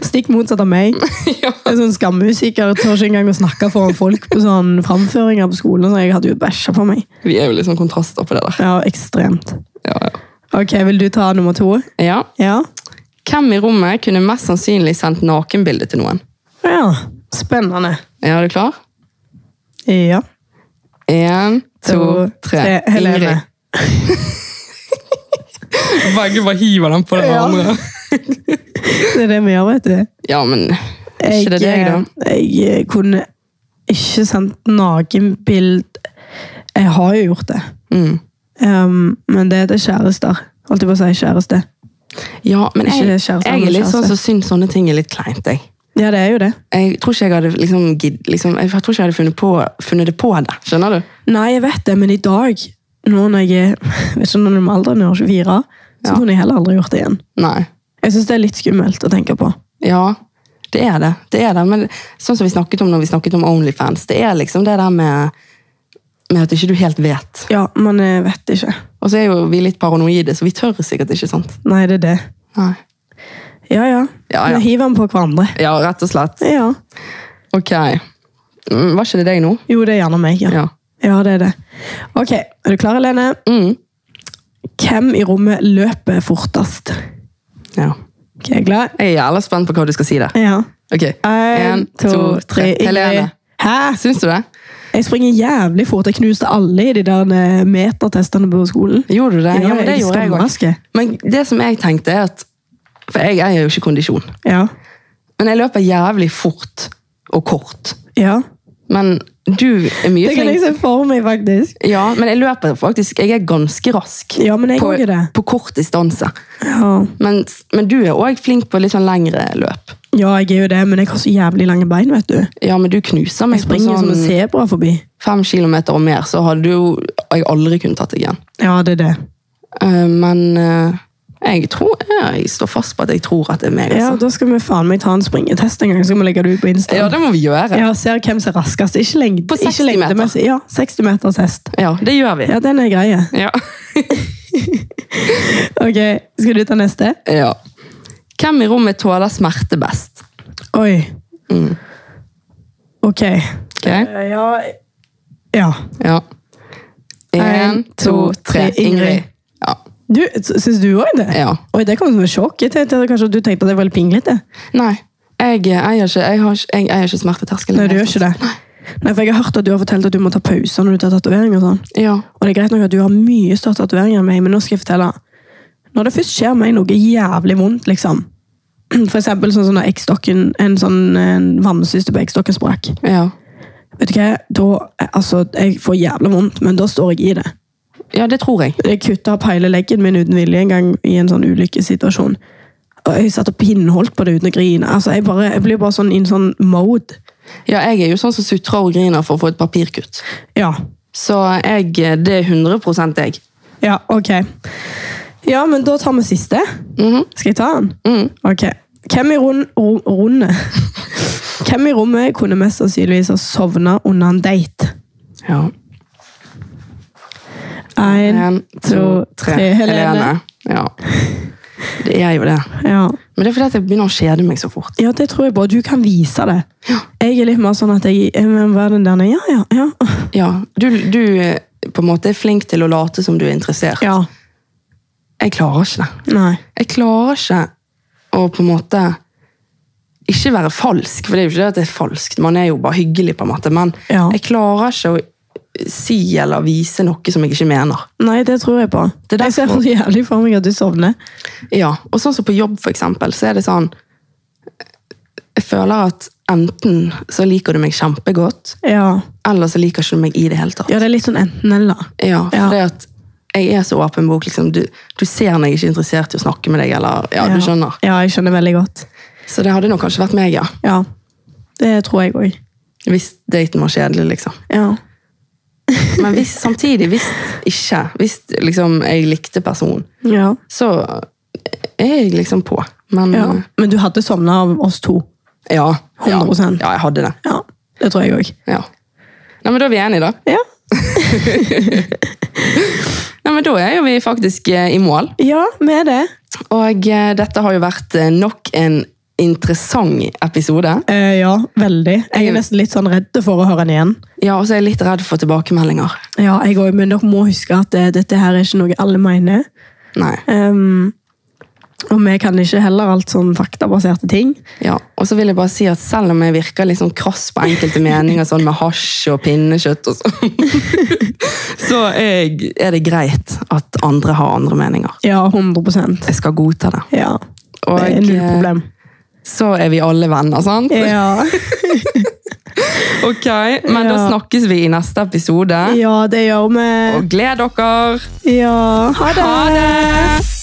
[SPEAKER 2] Stikk motsatt av meg.
[SPEAKER 1] <laughs> ja.
[SPEAKER 2] En sånn skammusiker tør ikke engang å snakke foran folk på sånn framføringer på skolen. Så jeg hadde jo bæsja på meg.
[SPEAKER 1] Vi er jo litt sånn kontraster på det der.
[SPEAKER 2] Ja, ekstremt.
[SPEAKER 1] Ja, ja.
[SPEAKER 2] Ok, vil du ta nummer to?
[SPEAKER 1] ja.
[SPEAKER 2] Ja.
[SPEAKER 1] Hvem i rommet kunne mest sannsynlig sendt nakenbilde til noen?
[SPEAKER 2] Ja, spennende.
[SPEAKER 1] Er du klar?
[SPEAKER 2] Ja.
[SPEAKER 1] Én, to, tre.
[SPEAKER 2] Helene.
[SPEAKER 1] Begge bare hiver den på den
[SPEAKER 2] Ja.
[SPEAKER 1] andre.
[SPEAKER 2] Det er det vi gjør, vet du.
[SPEAKER 1] Ja, men er ikke det deg, da?
[SPEAKER 2] Jeg, eh, kunne ikke sendt nakenbild Jeg har jo gjort det.
[SPEAKER 1] Mm.
[SPEAKER 2] Um, men det er til kjærester. Holdt jeg på å si kjæreste.
[SPEAKER 1] Ja, men
[SPEAKER 2] Ikke
[SPEAKER 1] jeg,
[SPEAKER 2] kjæreste,
[SPEAKER 1] jeg
[SPEAKER 2] men
[SPEAKER 1] er litt
[SPEAKER 2] kjæreste.
[SPEAKER 1] sånn som syns sånne ting er litt kleint, jeg.
[SPEAKER 2] Ja, det er jo det.
[SPEAKER 1] Jeg tror ikke jeg hadde liksom, gidd, liksom, jeg tror ikke jeg hadde funnet, på, funnet det på det. Skjønner du?
[SPEAKER 2] Nei, jeg vet det, men i dag, nå når jeg er <laughs> jeg vet ikke, når jeg er alderen er 24, så
[SPEAKER 1] Ja.
[SPEAKER 2] kunne jeg heller aldri gjort det igjen.
[SPEAKER 1] Nei.
[SPEAKER 2] Jeg syns det er litt skummelt å tenke på.
[SPEAKER 1] Ja, det er det. det er det. Men sånn som vi snakket om når vi snakket om Onlyfans, det er liksom det der med, med at ikke du helt vet.
[SPEAKER 2] Ja, man eh, vet ikke.
[SPEAKER 1] Og Og så er jo vi litt paranoide, så vi tør sikkert ikke, sant?
[SPEAKER 2] Nei, det er det.
[SPEAKER 1] Nei.
[SPEAKER 2] Ja, ja.
[SPEAKER 1] Ja, ja.
[SPEAKER 2] Vi hiver den på hverandre.
[SPEAKER 1] Ja, rett og slett.
[SPEAKER 2] Ja.
[SPEAKER 1] Ok. Mm, Var ikke det deg nå?
[SPEAKER 2] Jo, det er gjerne meg, ja. ja.
[SPEAKER 1] Ja.
[SPEAKER 2] det er det. Ok, er du klar, Helene?
[SPEAKER 1] Mm.
[SPEAKER 2] Hvem i rommet løper fortest?
[SPEAKER 1] ja.
[SPEAKER 2] Ok, er du klar?
[SPEAKER 1] Jeg er jævla spent på hva du skal si der.
[SPEAKER 2] Ja.
[SPEAKER 1] Ok.
[SPEAKER 2] En, to, tre, Ingrid.
[SPEAKER 1] Helene.
[SPEAKER 2] Hæ?
[SPEAKER 1] Syns du det?
[SPEAKER 2] Jeg springer jævlig fort. Jeg knuste alle i de der eh, metertestene på skolen.
[SPEAKER 1] Gjorde du det?
[SPEAKER 2] Ja,
[SPEAKER 1] Ja, men det
[SPEAKER 2] jeg
[SPEAKER 1] gjorde jeg også.
[SPEAKER 2] skamraske.
[SPEAKER 1] Men det som jeg tenkte er at For jeg eier jo ikke kondisjon.
[SPEAKER 2] Ja.
[SPEAKER 1] Men jeg løper jævlig fort og kort.
[SPEAKER 2] ja.
[SPEAKER 1] Men du er mye
[SPEAKER 2] Det kan jeg
[SPEAKER 1] flink.
[SPEAKER 2] se for meg, faktisk.
[SPEAKER 1] Ja, men jeg løper faktisk Jeg er ganske rask.
[SPEAKER 2] Ja, men jeg
[SPEAKER 1] på,
[SPEAKER 2] òg er det.
[SPEAKER 1] på kort distanse.
[SPEAKER 2] Ja.
[SPEAKER 1] Men, men du er òg flink på litt sånn lengre løp.
[SPEAKER 2] ja, jeg er jo det, men jeg har så jævlig lange bein, vet du. Jeg
[SPEAKER 1] Ja, men du knuser meg på
[SPEAKER 2] springer jo som
[SPEAKER 1] sånn
[SPEAKER 2] en sebra forbi.
[SPEAKER 1] fem kilometer og mer, så hadde jo jeg aldri kunnet tatt deg igjen.
[SPEAKER 2] Ja, det er det.
[SPEAKER 1] Eh, men eh, jeg tror ja, Jeg står fast på at jeg tror at det er meg.
[SPEAKER 2] Ja,
[SPEAKER 1] Altså.
[SPEAKER 2] Da skal vi faen meg ta en springetest en gang, så skal vi legge det ut på Insta.
[SPEAKER 1] Ja, det må vi gjøre.
[SPEAKER 2] Ja, Ser hvem som er raskest. Ikke lengde.
[SPEAKER 1] På 60
[SPEAKER 2] ikke
[SPEAKER 1] meter.
[SPEAKER 2] lengdemessig. Ja, 60 meters hest.
[SPEAKER 1] Ja, det gjør vi.
[SPEAKER 2] Ja, den er greie.
[SPEAKER 1] Ja.
[SPEAKER 2] Ok, Skal du ta neste?
[SPEAKER 1] ja. Hvem i rommet tåler smerte best?
[SPEAKER 2] Oi.
[SPEAKER 1] Mm.
[SPEAKER 2] Ok.
[SPEAKER 1] Ok?
[SPEAKER 2] Eh, Ja Ja.
[SPEAKER 1] Ja.
[SPEAKER 2] En,
[SPEAKER 1] En, to, tre. Ingrid. Ja.
[SPEAKER 2] Du, s- Syns du òg det?
[SPEAKER 1] ja.
[SPEAKER 2] Oi, Det kom som et sjokk. Jeg tenkte kanskje at Du tenkte at det var litt pinglete?
[SPEAKER 1] Nei. Jeg eh, eier ikke, jeg har ikke, jeg eier ikke smerteterskelen.
[SPEAKER 2] Nei, du gjør ikke det. Nei, for Jeg har hørt at du har fortalt at du må ta pauser når du tar tatoveringer. Og sånn.
[SPEAKER 1] Ja.
[SPEAKER 2] Og det er greit nok at du har mye større tatoveringer enn meg, men nå skal jeg fortelle. Når det først skjer meg noe jævlig vondt, liksom <clears throat> For eksempel sånn som når eggstokken- en sånn en vannsyste på eggstokken sprakk.
[SPEAKER 1] Ja.
[SPEAKER 2] Vet du hva? Da, altså, Jeg får jævlig vondt, men da står jeg i det.
[SPEAKER 1] ja, det tror jeg.
[SPEAKER 2] Jeg kutta opp hele leggen min uten vilje en gang i en sånn ulykkessituasjon. Og jeg satt og pinnholdt på det uten å grine. Altså, Jeg, bare, jeg blir bare sånn i en sånn mode.
[SPEAKER 1] Ja, jeg er jo sånn som sutrer og griner for å få et papirkutt.
[SPEAKER 2] Ja.
[SPEAKER 1] Så jeg, eh, det er 100 jeg.
[SPEAKER 2] Ja, ok. Ja, men da tar vi siste.
[SPEAKER 1] Mhm.
[SPEAKER 2] Skal jeg ta den?
[SPEAKER 1] Mm.
[SPEAKER 2] Ok. Hvem i rund, ro, runde? <laughs> Hvem i rommet kunne mest sannsynligvis ha sovna under en date?
[SPEAKER 1] Ja.
[SPEAKER 2] Én, to, tre. Helene.
[SPEAKER 1] Ja. Det er jo det.
[SPEAKER 2] Ja.
[SPEAKER 1] Men det er fordi at jeg begynner å kjede meg så fort.
[SPEAKER 2] ja, det tror jeg bare. Du kan vise det. Jeg er litt mer sånn at jeg, jeg må være den der nede. Ja, ja, ja.
[SPEAKER 1] Ja, du, du eh, på en måte er flink til å late som du er interessert.
[SPEAKER 2] Ja.
[SPEAKER 1] Jeg klarer ikke det.
[SPEAKER 2] <laughs> Nei.
[SPEAKER 1] Jeg klarer ikke å på en måte ikke være falsk, for det er jo ikke det at det er falskt. Man er jo bare hyggelig, på en måte. Men
[SPEAKER 2] Ja.
[SPEAKER 1] jeg klarer ikke å si eller vise noe som jeg ikke mener.
[SPEAKER 2] Nei, det tror jeg på.
[SPEAKER 1] Det er
[SPEAKER 2] jeg ser
[SPEAKER 1] derfor-
[SPEAKER 2] så jævlig for meg at du sovner.
[SPEAKER 1] Ja, Og sånn som på jobb, for eksempel, så er det sånn Jeg føler at enten så liker du meg kjempegodt,
[SPEAKER 2] Ja.
[SPEAKER 1] eller så liker ikke du meg i det hele tatt.
[SPEAKER 2] ja, det er litt sånn enten-eller.
[SPEAKER 1] Ja, for
[SPEAKER 2] Ja.
[SPEAKER 1] det at jeg er så åpen bok. liksom. Du, du ser når jeg ikke er interessert i å snakke med deg, eller ja, du skjønner.
[SPEAKER 2] Ja, jeg skjønner veldig godt.
[SPEAKER 1] Så det hadde nok kanskje vært meg, ja.
[SPEAKER 2] Ja, det tror jeg òg.
[SPEAKER 1] Hvis daten var kjedelig, liksom.
[SPEAKER 2] Ja.
[SPEAKER 1] Men hvis, samtidig, hvis ikke, hvis liksom, jeg likte personen,
[SPEAKER 2] Ja.
[SPEAKER 1] så er jeg liksom på. Men
[SPEAKER 2] ja.
[SPEAKER 1] ja.
[SPEAKER 2] Men du hadde sovna av oss to.
[SPEAKER 1] Ja, ja,
[SPEAKER 2] 100%.
[SPEAKER 1] jeg hadde det.
[SPEAKER 2] Ja, det tror jeg òg.
[SPEAKER 1] Ja. Nei, men da er vi enige, da.
[SPEAKER 2] Ja.
[SPEAKER 1] Nei, men da er jo vi faktisk eh, i mål.
[SPEAKER 2] ja, med det.
[SPEAKER 1] Og eh, dette har jo vært eh, nok en interessant episode.
[SPEAKER 2] Eh, ja, veldig. Jeg er nesten litt sånn redd for å høre den igjen.
[SPEAKER 1] Ja, og så er jeg litt redd for tilbakemeldinger.
[SPEAKER 2] Ja, jeg òg, men dere må huske at eh, dette her er ikke noe alle mener.
[SPEAKER 1] Nei.
[SPEAKER 2] Ehm, og vi kan ikke heller alt sånn faktabaserte ting.
[SPEAKER 1] Ja, og så vil jeg bare si at selv om jeg virker litt sånn krass på enkelte meninger, sånn med hasj og pinnekjøtt og sånn, <laughs> så er jeg- er det greit at andre har andre meninger.
[SPEAKER 2] Ja, 100
[SPEAKER 1] Jeg skal godta det.
[SPEAKER 2] Ja.
[SPEAKER 1] Og eh,
[SPEAKER 2] det er null problem.
[SPEAKER 1] så er vi alle venner, sant?
[SPEAKER 2] <laughs> Ja.
[SPEAKER 1] Ok, men da
[SPEAKER 2] Ja.
[SPEAKER 1] snakkes vi i neste episode.
[SPEAKER 2] ja, det gjør vi.
[SPEAKER 1] Og gled dere!
[SPEAKER 2] Ja. Ha det!
[SPEAKER 1] Ha det!